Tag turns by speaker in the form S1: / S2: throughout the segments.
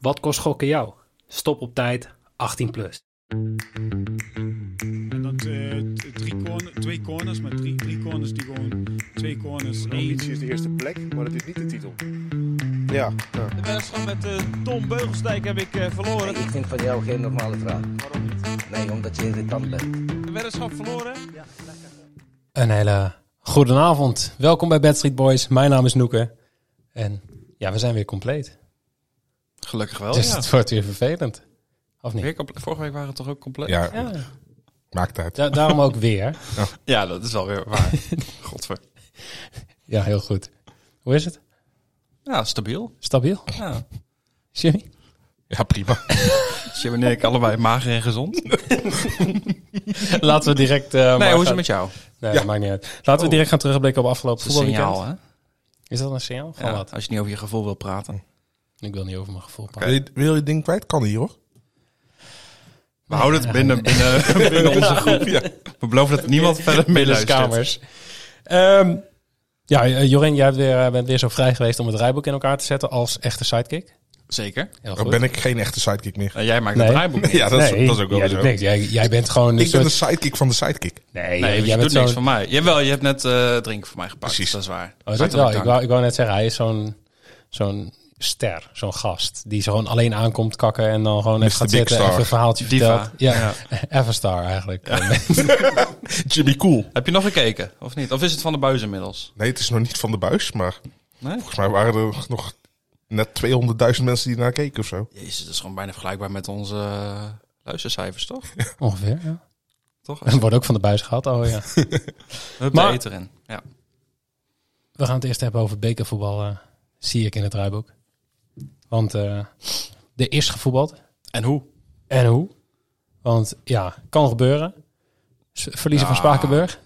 S1: Wat kost gokken jou? Stop op tijd 18 plus.
S2: En dat eh, t- drie corner, twee corners, maar drie, drie corners die gewoon twee corners.
S3: De ambitie is de eerste plek, maar het is niet de titel. Ja, ja.
S4: De wedstrijd met eh, Tom Beugelsdijk heb ik eh, verloren.
S5: Nee, ik vind van jou geen normale vraag.
S4: Waarom niet?
S5: Nee, omdat je irritant bent.
S4: De weddenschap verloren.
S1: Een hele goede avond. Welkom bij Bad Street Boys. Mijn naam is Noeke. En ja, we zijn weer compleet.
S6: Gelukkig wel.
S1: dus
S6: ja.
S1: het wordt weer vervelend. Of niet?
S6: Weer comple- Vorige week waren het toch ook compleet?
S7: Ja,
S1: Ja.
S7: maakt uit.
S1: Da- daarom ook weer.
S6: Ja, dat is wel weer waar. Godver.
S1: Ja, heel goed. Hoe is het?
S6: Ja, stabiel.
S1: Stabiel?
S6: Ja.
S1: Jimmy?
S7: Ja, prima.
S6: Jim en ik allebei mager en gezond.
S1: Laten we direct... eh, maar
S6: nee, hoe
S1: gaan-
S6: is het met jou?
S1: Nee, dat maakt niet uit. Laten we direct gaan terugblikken op afgelopen
S6: Dat is een
S1: voetbalweekend.
S6: signaal, hè?
S1: Is dat een signaal? Van
S6: Ja,
S1: wat?
S6: als je niet over je gevoel wil praten.
S1: Ik wil niet over mijn gevoel praten.
S7: Wil je- Wil je het ding kwijt? Kan hier hoor.
S6: We houden het binnen, binnen, binnen onze groep. We beloven dat niemand verder
S1: Middelste
S6: meeluistert.
S1: kamers. Ehm, ja, eh, Jorin, jij hebt weer, eh, bent weer zo vrij geweest om het rijboek in elkaar te zetten als echte sidekick.
S6: Zeker.
S1: Heel
S7: Dan
S1: goed.
S7: ben ik geen echte sidekick meer.
S6: En jij maakt
S1: Nee.
S6: het draaiboek niet.
S7: Ja, dat,
S1: Nee,
S7: is, dat is ook wel
S1: jij
S7: zo.
S1: doet niks. Jij, jij bent gewoon een
S7: Ik ben de
S1: soort...
S7: sidekick van de sidekick.
S1: Nee,
S6: Nee,
S1: jij-
S6: want
S1: jij
S6: je
S1: bent
S6: doet niks
S1: zo'n...
S6: van mij. Jawel, je hebt net eh, drinken voor mij gepakt.
S7: Precies.
S6: Dat is waar.
S1: Oh, is dat
S6: Hartelijk
S1: wel? Ik
S6: dank.
S1: wou, ik wou net zeggen, hij is zo'n zo'n ster, zo'n gast. Die zo gewoon alleen aankomt kakken en dan gewoon even gaat
S7: Big
S1: zitten,
S7: Star.
S1: even een verhaaltje
S6: Diva.
S1: vertelt. Ja, even star eigenlijk.
S7: Jimmy Cool.
S6: Heb je nog gekeken, of niet? Of is het van de buis inmiddels?
S7: Nee, het is nog niet van de buis, maar
S6: Nee?
S7: volgens mij waren er nog net 200.000 mensen die naar keken of zo.
S6: Jezus, dat is gewoon bijna vergelijkbaar met onze eh, luistercijfers, toch?
S1: Ongeveer, ja.
S6: toch?
S1: En wordt ook van de buis gehad, oh ja.
S6: Hup,
S1: Maar-
S6: de eten erin. Ja.
S1: We gaan het eerst hebben over bekervoetbal, eh, zie ik in het draaiboek. Want eh, er is gevoetbald.
S6: En hoe?
S1: En hoe? Want ja, kan gebeuren. S- Verliezen van
S6: Ja.
S1: Spakenburg.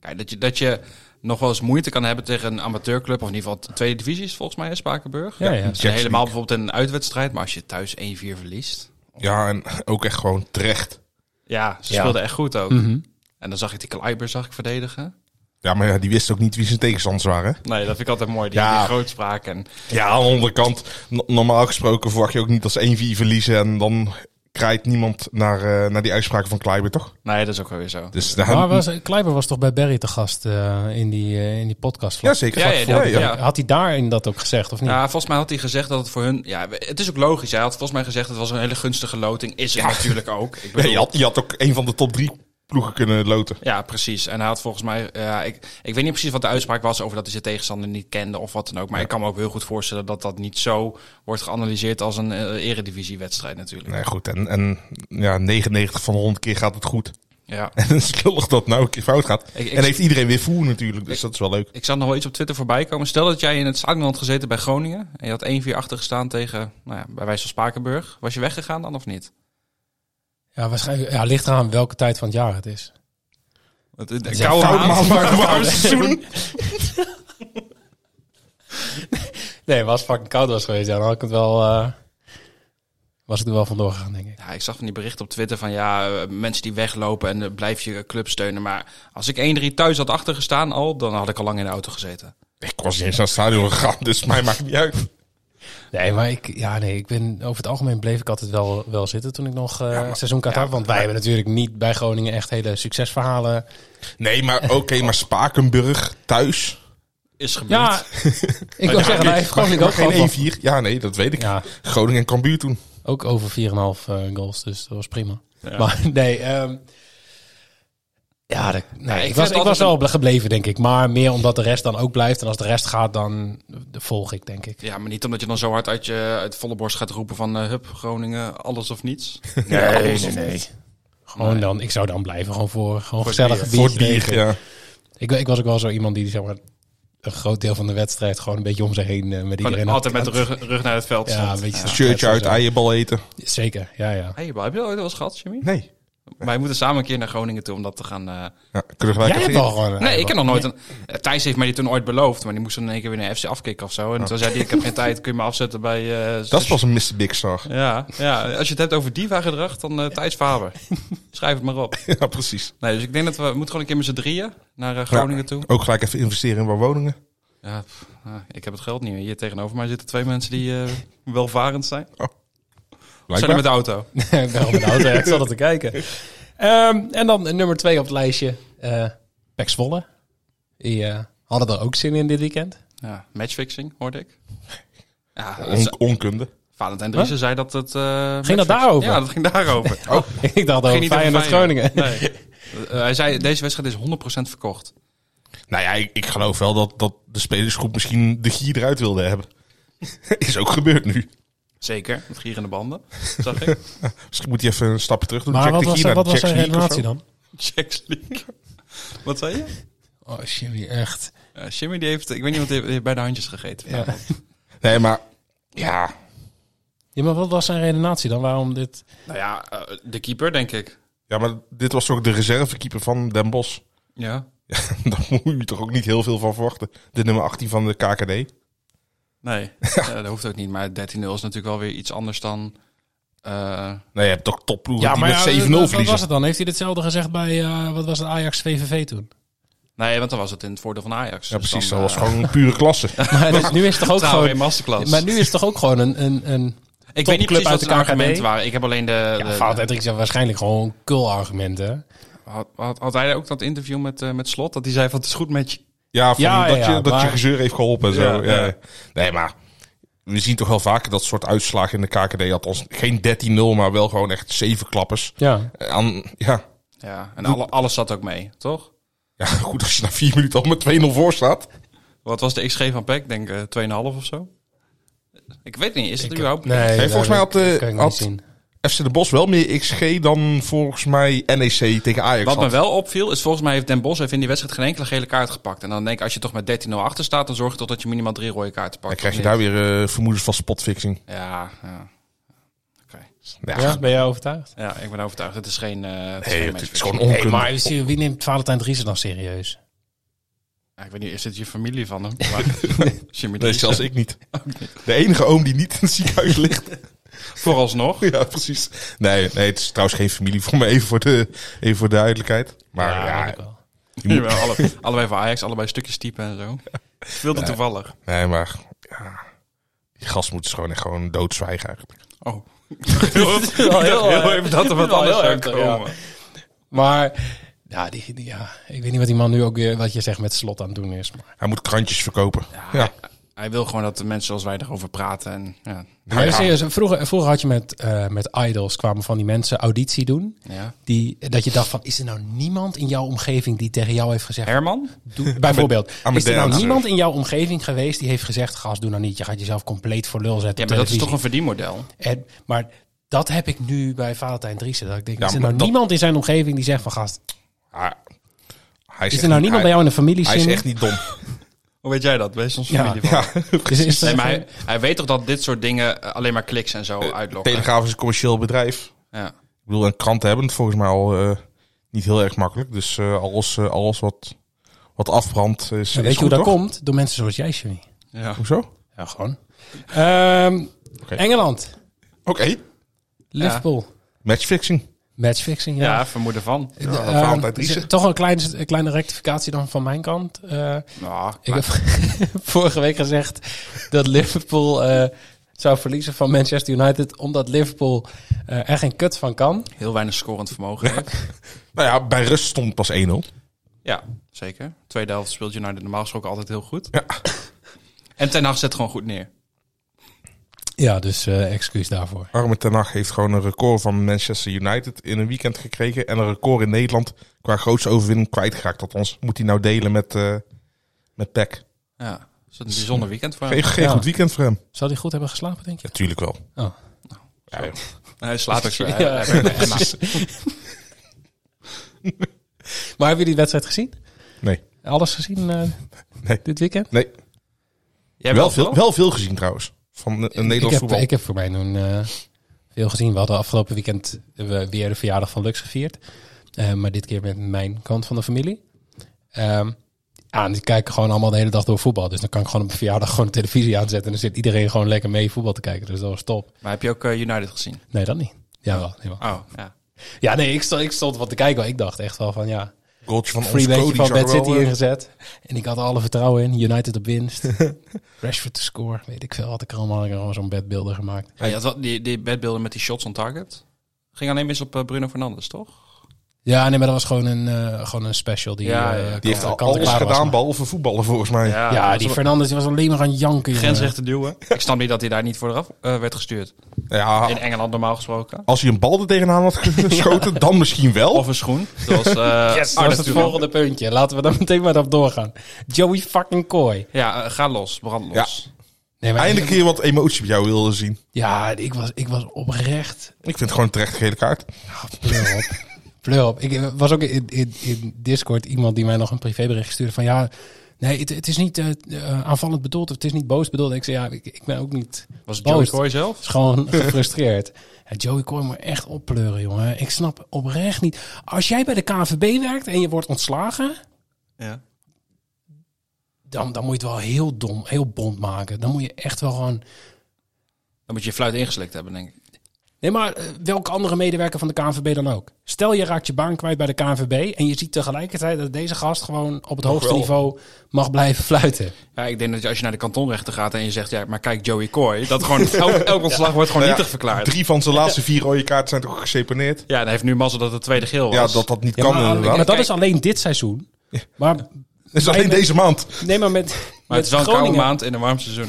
S6: Kijk, dat je, dat je nog wel eens moeite kan hebben tegen een amateurclub. Of in ieder geval tweede divisie is volgens mij, hè, Spakenburg.
S1: Ja, ja.
S6: Dus
S7: Jack
S6: helemaal bijvoorbeeld een uitwedstrijd. Maar als je thuis 1-4 verliest.
S7: Ja, en ook echt gewoon terecht.
S6: Ja, ze
S1: Ja.
S6: speelden echt goed ook.
S1: Mhm.
S6: En dan zag ik die Kleiber zag ik verdedigen.
S7: Ja, maar ja, die wisten ook niet wie zijn tegenstanders waren. hè?
S6: Nee, dat vind ik altijd mooi. Die,
S7: Ja.
S6: die grootspraak. En,
S7: Ja, aan de andere kant, no- normaal gesproken verwacht je ook niet dat ze 1-4 verliezen. En dan krijgt niemand naar, eh, naar die uitspraken van Kleiber, toch?
S6: nee, dat is ook wel weer zo.
S7: Dus daar,
S1: Maar was, Kleiber was toch bij Barry te gast eh, in, die, eh, in die podcast?
S7: ja,
S1: vlak-
S7: zeker.
S6: Ja, ja,
S7: vlak voor,
S6: ja, ja.
S1: Had hij daarin dat ook gezegd of niet?
S6: Ja, volgens mij had hij gezegd dat het voor hun... Ja, het is ook logisch. Hij had volgens mij gezegd dat het was een hele gunstige loting. Is het natuurlijk ook. Ik
S7: Ja,
S6: bedoel-
S7: je, had, je had ook een van de top drie ploegen kunnen loten.
S6: Ja, precies. En hij had volgens mij, eh, ja, ik, ik weet niet precies wat de uitspraak was over dat hij zijn tegenstander niet kende of wat dan ook. Maar ik kan me ook heel goed voorstellen dat dat niet zo wordt geanalyseerd als een eh, eredivisiewedstrijd natuurlijk.
S7: Nee, goed. En, en ja, 99 van de 100 keer gaat het goed.
S6: Ja.
S7: En het is lullig dat het nou een keer fout gaat.
S6: Ik- ik-
S7: en heeft iedereen weer voer natuurlijk, dus dat is wel leuk.
S6: Ik zag nog wel iets op Twitter voorbij komen. Stel dat jij in het stadion had gezeten bij Groningen en je had 1-4 achter gestaan tegen, nou ja, bij wijze van Spakenburg. Was je weggegaan dan of niet?
S1: Ja, waarschijnlijk. Ja, ligt eraan welke tijd van het jaar het is.
S6: Het, het,
S1: is
S6: koude
S1: een
S6: maand, maar warm
S7: seizoen.
S1: Nee, maar als het fucking koud was geweest, ja, dan had ik het wel, eh, was ik er wel vandoor gegaan, denk ik.
S6: Ja, ik zag van die berichten op Twitter van ja, eh, mensen die weglopen en eh, blijf je club steunen. Maar als ik 1-3 thuis had achtergestaan al, dan had ik al lang in de auto gezeten.
S7: Ik was niet eens naar het stadion gegaan, dus mij maakt niet uit.
S1: Nee, maar ik, ja, nee, ik ben, over het algemeen bleef ik altijd wel, wel zitten toen ik nog eh seizoenkaart had. Want wij hebben natuurlijk niet bij Groningen echt hele succesverhalen.
S7: Nee, maar oké, maar Spakenburg thuis.
S6: Is gebeurd.
S1: Ja, ik wil zeggen, hij heeft Groningen ook
S7: Maar
S1: gewoon van-
S7: geen 1-4. Ja, nee, dat weet ik.
S1: Ja,
S7: Groningen en Cambuur toen.
S1: ook over 4,5 eh, goals, dus dat was prima. Maar nee, ehm, ja, dat- nee,
S6: ik
S1: ik,
S6: vind
S1: was,
S6: het
S1: ik was
S6: altijd
S1: wel gebleven, denk ik. Maar meer omdat de rest dan ook blijft. En als de rest gaat, dan eh, volg ik, denk ik.
S6: Ja, maar niet omdat je dan zo hard uit je uit volle borst gaat roepen van eh, hup, Groningen, alles of niets.
S1: Nee, nee, Gewoon dan, ik zou dan blijven, gewoon voor gewoon gezellige
S7: Voor het
S1: biertje
S7: bier,
S1: drinken.
S7: ja.
S1: Ik, ik was ook wel zo iemand die zeg maar, een groot deel van de wedstrijd gewoon een beetje om zich heen eh, met
S6: Gewoon
S1: iedereen.
S6: altijd met de rug, rug naar het veld.
S1: Ja, een beetje
S7: Shirtje uit,
S1: ei.
S7: eierbal eten.
S1: Zeker, ja, ja.
S6: Hey, heb je dat ooit wel eens gehad, Jimmy?
S7: Nee.
S6: Wij moeten samen een keer naar Groningen toe om dat te gaan... eh,
S7: Ja, kunnen wij
S1: Jij hebt al gewoon een
S6: Nee, ik
S1: eigen-
S6: heb nog nooit een... eh, Thijs heeft mij die toen ooit beloofd, maar die moest dan in één keer weer naar FC afkicken of zo. En toen zei hij, ik heb geen tijd, kun je me afzetten bij... eh,
S7: Dat is pas een Mr. Big Star.
S6: Ja, ja, als je het hebt over diva-gedrag, dan eh, Thijs Faber. Schrijf het maar op.
S7: Ja, precies.
S6: Nee, dus ik denk dat we, we moeten gewoon een keer met z'n drieën naar eh, Groningen toe.
S7: Ook gelijk even investeren in waar woningen.
S6: Ja, pff, ah, ik heb het geld niet meer. Hier tegenover mij zitten twee mensen die eh, welvarend zijn.
S7: Oh.
S6: Zijn we met de auto?
S1: Ik ben al met de auto, ja, ik zat er te kijken. Ehm, en dan nummer twee op het lijstje, eh Pek Zwolle. Die eh, hadden er ook zin in dit weekend.
S6: Ja, matchfixing, hoorde ik. Ja, dat
S8: On-
S6: is-
S8: onkunde.
S6: Valentijn Driessen zei dat het... eh, matchfixing-
S1: dat daarover?
S6: Ja, dat ging daarover. Oh,
S1: ik dacht over Feyenoord Groningen.
S6: Nee. Eh, hij zei, deze wedstrijd is 100% verkocht.
S8: Nou ja, ik, ik geloof wel dat, dat de spelersgroep misschien de gier eruit wilde hebben. Is ook gebeurd nu.
S6: Zeker, met gierende banden, zag ik.
S8: Misschien moet hij even een stapje terug doen.
S1: Maar
S8: Check
S1: wat
S8: de
S1: was,
S8: gier naar
S1: wat
S8: de
S1: was zijn
S8: Czech League of
S1: redenatie dan?
S8: zo.
S6: Checks League. Wat zei je?
S1: Oh, Jimmy, echt.
S6: Eh, Jimmy die heeft, ik weet niet wat hij heeft bij de handjes gegeten.
S1: Ja.
S8: Nee, maar ja,
S1: Ja, maar wat was zijn redenatie dan? Waarom dit...
S6: Nou ja, eh, de keeper denk ik.
S8: ja, maar dit was toch de reservekeeper van Den Bosch.
S6: Ja.
S8: Daar moet je toch ook niet heel veel van verwachten. De nummer 18 van de KKD.
S6: Nee, eh, dat hoeft ook niet. Maar 13-0 is natuurlijk wel weer iets anders dan... eh,
S8: Nee, je hebt Nou toch topploegen die met 7-0
S1: wat, was
S8: verliezen.
S1: het dan? Heeft hij hetzelfde gezegd bij, eh, wat was het, Ajax VVV toen?
S6: nee, want dan was het in het voordeel van Ajax.
S8: Ja, precies. Dat
S6: dan,
S8: was
S6: eh,
S8: gewoon een pure klasse.
S1: Maar dus nu is het toch ook
S6: Trouwen in
S1: gewoon...
S6: masterclass.
S1: Maar nu is het toch ook gewoon een... een, een
S6: ik weet
S1: topclub
S6: niet precies wat
S1: uit de
S6: de argumenten
S1: KKD.
S6: waren. Ik heb alleen de... de-
S1: Ja,
S6: de-
S1: Vaat Hendricks heeft waarschijnlijk gewoon kul-argumenten.
S6: had, had, had hij ook dat interview met, eh, met Slot? Dat hij zei van het is goed met je.
S8: Ja, van
S1: Ja, ja,
S8: dat, je,
S1: ja,
S8: dat je
S1: maar-
S8: gezeur heeft geholpen en zo.
S6: Ja,
S8: Ja,
S6: ja.
S8: Nee, maar we zien toch wel vaker dat soort uitslagen in de KKD. Althans, geen 13-0, maar wel gewoon echt zeven klappers.
S1: Ja.
S8: Eh, Aan, ja.
S6: Ja, en alle, alles zat ook mee, toch?
S8: ja, goed als je na vier minuten al met 2-0 voor staat.
S6: Wat was de XG van Peck? Ik Denk eh 2,5 of zo? Ik weet niet, is het überhaupt...
S8: volgens
S1: dat-
S8: mij had, eh,
S1: dat kan ik niet
S8: had-
S1: zien.
S8: FC De Bos wel meer XG dan volgens mij NEC tegen Ajax
S6: Wat me
S8: had.
S6: wel opviel, is volgens mij heeft Den Bosch heeft in die wedstrijd geen enkele gele kaart gepakt. En dan denk ik, als je toch met 13-0 achter staat, dan zorg je toch dat je minimaal drie rode kaarten pakt.
S8: Dan krijg je daar weer eh, vermoedens van spotfixing.
S6: Ja, ja. Oké.
S8: Ja,
S1: Ja, ben jij overtuigd?
S6: ja, ik ben overtuigd. Het is geen... eh, het is
S8: nee,
S6: geen
S8: het,
S6: matchfixing.
S8: is gewoon onkunde.
S1: maar wie neemt Valentijn Driessen dan serieus?
S6: Ja, ik weet niet, is dit je familie van hem? Maar, Jimmy
S8: Nee,
S6: Driessen.
S8: zelfs ik niet. De enige oom die niet in het ziekenhuis ligt.
S6: Vooralsnog.
S8: Ja, precies. Nee, nee, het is trouwens geen familie voor me, even voor de, even voor de duidelijkheid. Maar ja,
S1: ik wel.
S8: je moet-
S6: Jawel, alle, allebei voor Ajax, allebei stukjes typen en zo. Het is wilde toevallig.
S8: nee, maar ja, die gast moet dus gewoon echt gewoon doodzwijgen eigenlijk.
S6: Oh. Ik dacht
S1: heel
S6: heel
S1: erg.
S6: even dat er wat
S1: Wel
S6: anders
S1: heel
S6: zou
S1: erg, ja.
S6: komen.
S1: Maar ja, die, die- ja, ik weet niet wat die man nu ook weer, wat je zegt, met slot aan het doen is. Maar,
S8: Hij moet krantjes verkopen. Ja,
S6: Hij wil gewoon dat de mensen zoals wij erover praten. En, ja.
S1: Maar
S8: Nou ja.
S1: serieus, vroeger, vroeger had je met, eh, met idols, kwamen van die mensen auditie doen.
S6: Ja.
S1: Die, dat je dacht van, is er nou niemand in jouw omgeving die tegen jou heeft gezegd...
S6: Herman?
S1: doe- bijvoorbeeld,
S8: Amadeus.
S1: is er nou niemand in jouw omgeving geweest die heeft gezegd... Gast, doe nou niet, je gaat jezelf compleet voor lul zetten
S6: Ja,
S1: op
S6: maar dat is
S1: televisie.
S6: toch een verdienmodel?
S1: En, maar dat heb ik nu bij Valentijn Driessen. Dat ik denk,
S8: Ja,
S1: is er
S8: maar
S1: nou
S8: dat-
S1: niemand in zijn omgeving die zegt van gast...
S8: hij- hij
S1: Is
S8: echt
S1: er nou
S8: niet-
S1: niemand bij jou in de familie
S8: Hij, hij
S1: Jimmy?
S8: is echt niet dom.
S6: Hoe weet jij dat? Wees ons
S1: Ja.
S6: familie van.
S8: Ja,
S1: Is- Dus is er-
S6: Nee, maar hij, hij weet toch dat dit soort dingen eh, alleen maar kliks en zo uitlokken?
S8: Telegraaf is een commercieel bedrijf.
S6: Ja.
S8: Ik bedoel, en kranten hebben het volgens mij al eh, niet heel erg makkelijk. Dus eh, alles, eh, alles wat, wat afbrandt is, is
S1: Ja, weet je hoe
S8: goed,
S1: dat
S8: toch?
S1: komt? Door mensen zoals jij, Jimmy.
S6: Ja.
S8: Hoezo?
S1: Ja, gewoon. Ehm,
S8: Oké.
S1: Engeland,
S8: Oké.
S1: Liverpool,
S8: Matchfixing.
S1: matchfixing. Ja.
S6: ja, vermoeden van.
S1: Ehm,
S8: Valentijn
S1: dus,
S8: Driessen.
S1: toch een kleine, een kleine rectificatie dan van mijn kant. Eh,
S6: Nou,
S1: ik
S6: maar-
S1: heb vorige week gezegd dat Liverpool eh, zou verliezen van Manchester United. Omdat Liverpool eh, er geen kut van kan.
S6: heel weinig scorend vermogen heeft.
S8: Nou ja, bij rust stond pas 1-0.
S6: Ja, zeker. Tweede helft speelt United normaal gesproken altijd heel goed.
S8: Ja.
S6: En Ten Hag zet gewoon goed neer.
S1: Ja, dus eh, excuus daarvoor.
S8: Arme Ten Hag heeft gewoon een record van Manchester United in een weekend gekregen. En een record in Nederland qua grootste overwinning kwijtgeraakt. Althans, moet hij nou delen met, eh met Peck.
S6: Ja, is dat een bijzonder weekend voor hem.
S8: Geen, geen
S1: Ja.
S8: goed weekend voor hem.
S1: Zou hij goed hebben geslapen, denk je?
S8: Natuurlijk wel.
S1: Oh.
S8: Ja, joh.
S6: Hij slaat ook zo. eh,
S1: Ja.
S6: Hij- hij werkt echt na.
S1: Maar hebben jullie die wedstrijd gezien?
S8: Nee.
S1: Alles gezien eh,
S8: Nee.
S1: dit weekend?
S8: nee.
S6: Jij
S8: wel, veel, wel veel gezien trouwens. Van een
S1: ik,
S8: Nederlands
S1: heb,
S8: voetbal.
S1: ik heb voor mij toen eh, veel gezien. We hadden afgelopen weekend eh, weer de verjaardag van Lux gevierd. Eh, maar dit keer met mijn kant van de familie. Ehm ja, en die kijken gewoon allemaal de hele dag door voetbal. Dus dan kan ik gewoon op mijn verjaardag gewoon de televisie aanzetten. En dan zit iedereen gewoon lekker mee voetbal te kijken. Dus dat was top.
S6: Maar heb je ook eh, United gezien?
S1: Nee, dat niet. Ja, wel. jawel.
S6: Oh, ja.
S1: Ja, nee, ik stond, ik stond wat te kijken. maar Ik dacht echt wel van ja.
S8: Goaltje van ons
S1: freebeetje
S8: Cody
S1: van
S8: zag
S1: Bad
S8: er wel,
S1: City
S8: eh,
S1: ingezet. En ik had er alle vertrouwen in. United op winst. Rashford te score. Weet ik veel. Had ik er allemaal ik had gewoon zo'n bedbeelden gemaakt.
S6: Ja, je had wel die, die bedbeelden met die shots on target. Ging alleen mis op eh, Bruno Fernandes, toch?
S1: Ja, nee, maar dat was gewoon een, eh, gewoon een special. Die,
S6: Ja,
S1: eh,
S6: ja. Die
S1: kant-
S8: Die heeft al
S1: kant-en-klaar
S8: alles
S1: was,
S8: gedaan,
S1: maar-
S8: behalve voetballen volgens mij.
S1: Ja, die Fernandes die was alleen maar gaan janken. jongen.
S6: grensrechten duwen. Ik snap niet dat hij daar niet voor eraf eh, werd gestuurd.
S8: Ja,
S1: Ah.
S6: In Engeland normaal gesproken.
S8: als hij een bal er tegenaan had geschoten, dan misschien wel.
S6: Of een schoen. Zoals, eh,
S1: Yes, dat was het volgende puntje. Laten we dan meteen maar op doorgaan. Joey fucking Kooi.
S6: Ja, eh, ga los. Brand los.
S1: Nee, maar
S8: Eindelijk een keer wat emotie bij jou wilde zien.
S1: Ja, ik was, ik was oprecht.
S8: Ik vind het gewoon terecht gele kaart.
S1: Pleur op. Pleur op. Ik eh, was ook in, in, in Discord iemand die mij nog een privébericht stuurde van ja... Nee, het, het is niet eh, eh, aanvallend bedoeld of het is niet boos bedoeld. En ik zei ja, ik, ik ben ook niet...
S6: Was het
S1: boos.
S6: Joey Coy zelf?
S1: Het is gewoon gefrustreerd. Ja, Joey Coy moet echt oppleuren, jongen. Ik snap oprecht niet. Als jij bij de KNVB werkt en je wordt ontslagen...
S6: Ja.
S1: dan, dan moet je het wel heel dom, heel bond maken. Dan moet je echt wel gewoon...
S6: Dan moet je je fluit ingeslikt hebben, denk ik.
S1: Nee, maar eh, welke andere medewerker van de KNVB dan ook? Stel, je raakt je baan kwijt bij de KNVB... en je ziet tegelijkertijd dat deze gast gewoon op het hoogste
S8: wel.
S1: niveau mag blijven fluiten.
S6: Ja, ik denk dat als je naar de kantonrechter gaat en je zegt, ja, maar kijk Joey Coy. Dat gewoon, elk, elk ontslag wordt gewoon
S8: Nou ja,
S6: nietig verklaard.
S8: Drie van zijn laatste vier rode kaarten zijn toch geseponeerd?
S6: Ja, dan heeft nu mazzel dat het tweede geel was.
S8: Ja, dat dat niet kan
S1: maar,
S8: inderdaad.
S1: maar
S8: Dat
S1: dat is alleen dit seizoen. Maar,
S8: is alleen deze maand.
S1: nee, maar met,
S6: maar het is wel een koude maand in een warm seizoen.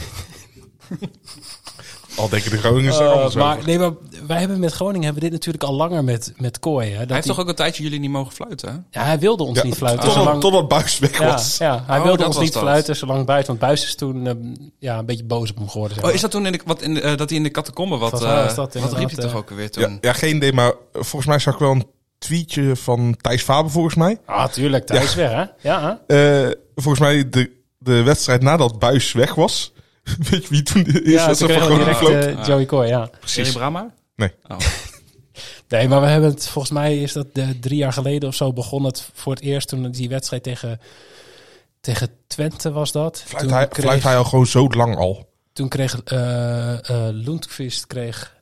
S8: Al denken de Groningers daar
S1: Eh,
S8: anders
S1: maar,
S8: over.
S1: nee, maar wij hebben met Groningen hebben dit natuurlijk al langer met, met Kooi. Hè, dat
S6: Hij heeft
S1: die-
S6: toch ook een tijdje jullie niet mogen fluiten, hè?
S1: ja, hij wilde ons
S8: Ja,
S1: niet fluiten.
S8: totdat,
S1: zolang-
S8: totdat Buijs weg
S1: ja,
S8: was.
S1: ja, hij
S6: Oh,
S1: wilde
S6: dat
S1: ons
S6: was
S1: niet
S6: dat.
S1: fluiten zolang Buis. Want Buis is toen eh, ja, een beetje boos op hem geworden. Zeg
S6: Oh,
S1: maar.
S6: is dat toen in de, wat in de- eh, dat hij in de catacombe wat,
S1: Volgens mij
S6: eh,
S1: was dat
S6: wat riep
S1: inderdaad,
S6: hij toch
S1: eh,
S6: ook weer toen?
S8: Ja, ja, geen idee, maar eh, volgens mij zag ik wel een tweetje van Thijs Faber volgens mij.
S1: Ah, tuurlijk. Thuis weer, hè? Ja, hè?
S8: Eh, volgens mij de, de wedstrijd nadat Buis weg was. Weet je wie toen de eerste
S1: Ja, ze
S8: wedstrijd van
S1: kregen
S8: Groningen
S1: direct eh,
S8: vloog?
S1: Joey Coy, ja.
S6: Serie Brahma?
S8: Nee.
S6: Oh.
S1: Nee, maar we hebben het, volgens mij is dat eh, drie jaar geleden of zo begon het voor het eerst toen die wedstrijd tegen, tegen Twente was dat.
S8: Fluit
S1: eh, toen,
S8: hij,
S1: kreeg,
S8: fluit hij al gewoon zo lang al.
S1: toen kreeg eh, eh, Lundqvist kreeg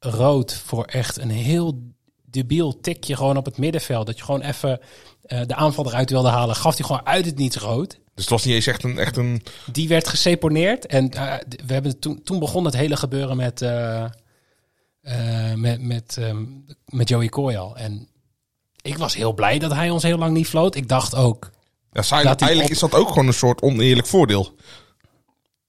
S1: rood voor echt een heel debiel tikje gewoon op het middenveld. Dat je gewoon even eh, de aanval eruit wilde halen. Gaf hij gewoon uit het niets rood.
S8: Dus het was niet eens echt een... Echt een
S1: Die werd geseponeerd. En eh, d- we hebben het toen, toen begon het hele gebeuren met, eh, eh, met, met, ehm, met Joey Coy al. En ik was heel blij dat hij ons heel lang niet floot. Ik dacht ook,
S8: ja, zijn-
S1: Dat hij
S8: eigenlijk
S1: op-
S8: is dat ook gewoon een soort oneerlijk voordeel.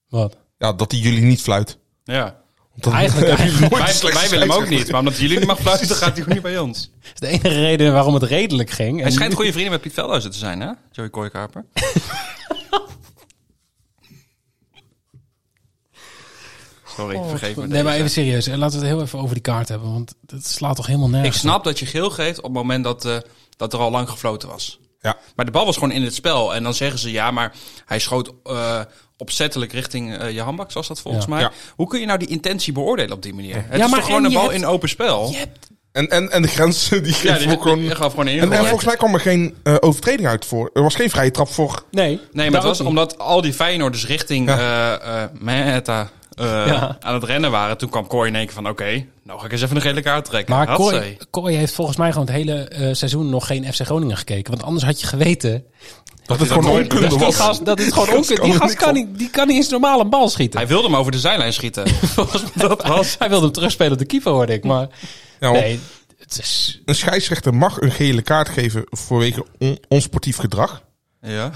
S1: wat?
S8: Ja, dat hij jullie niet fluit.
S6: Ja.
S8: Want dan
S1: Eigenlijk-
S8: hebben jullie nooit een
S6: Wij,
S8: slechte
S6: wij willen hem ook
S8: scheidsrechter.
S6: niet, maar omdat jullie niet mag fluiten, gaat hij ook niet bij ons.
S1: Dat is de enige reden waarom het redelijk ging.
S6: Hij schijnt goede vrienden met Piet Veldhuizen te zijn, hè? Joey Kooikaper. Sorry, vergeef me
S1: Nee, maar
S6: deze.
S1: even serieus. hè. Laten we het heel even over die kaart hebben. Want dat slaat toch helemaal
S6: Ik
S1: nergens op?
S6: snap dat je geel geeft op het moment dat, eh, dat er al lang gefloten was.
S8: Ja.
S6: Maar de bal was gewoon in het spel. En dan zeggen ze ja, maar hij schoot eh, opzettelijk richting eh, je handbak, zoals dat volgens
S1: Ja.
S6: mij.
S8: Ja.
S6: Hoe kun je nou die intentie beoordelen op die manier? Het
S1: Ja,
S6: is
S1: maar
S6: toch gewoon
S1: en
S6: een
S1: je
S6: bal
S1: hebt-
S6: in open spel?
S1: Je hebt-
S8: En, en, en de grens, die geeft
S6: Ja, die,
S8: ook gewoon...
S6: die gaf gewoon in.
S8: En, en volgens mij kwam er geen eh, overtreding uit voor. Er was geen vrije trap voor.
S1: Nee,
S6: Nee, maar
S1: dat
S6: het was
S1: ook niet.
S6: omdat al die Feyenoorders richting eh eh, Meta eh,
S1: Ja.
S6: aan het rennen waren. Toen kwam Kooi in één keer van, oké, nou ga ik eens even een gele kaart trekken.
S1: Maar Kooi,
S6: Hatsé.
S1: Kooi heeft volgens mij gewoon het hele eh, seizoen nog geen FC Groningen gekeken. Want anders had je geweten
S8: Dat het gewoon
S6: nooit
S8: onkunde
S1: Dus die
S8: was.
S1: gast, dat is gewoon onkunde. Die
S8: kan
S1: gast
S8: er
S1: kan
S8: niks
S1: niet, die kan niet eens normaal een bal schieten.
S6: Hij wilde hem over de zijlijn schieten.
S1: dat was. Hij wilde hem terugspelen op de keeper, hoorde ik. Maar
S8: Ja, want
S1: nee, het is,
S8: Een scheidsrechter mag een gele kaart geven vanwege on- onsportief gedrag.
S6: ja.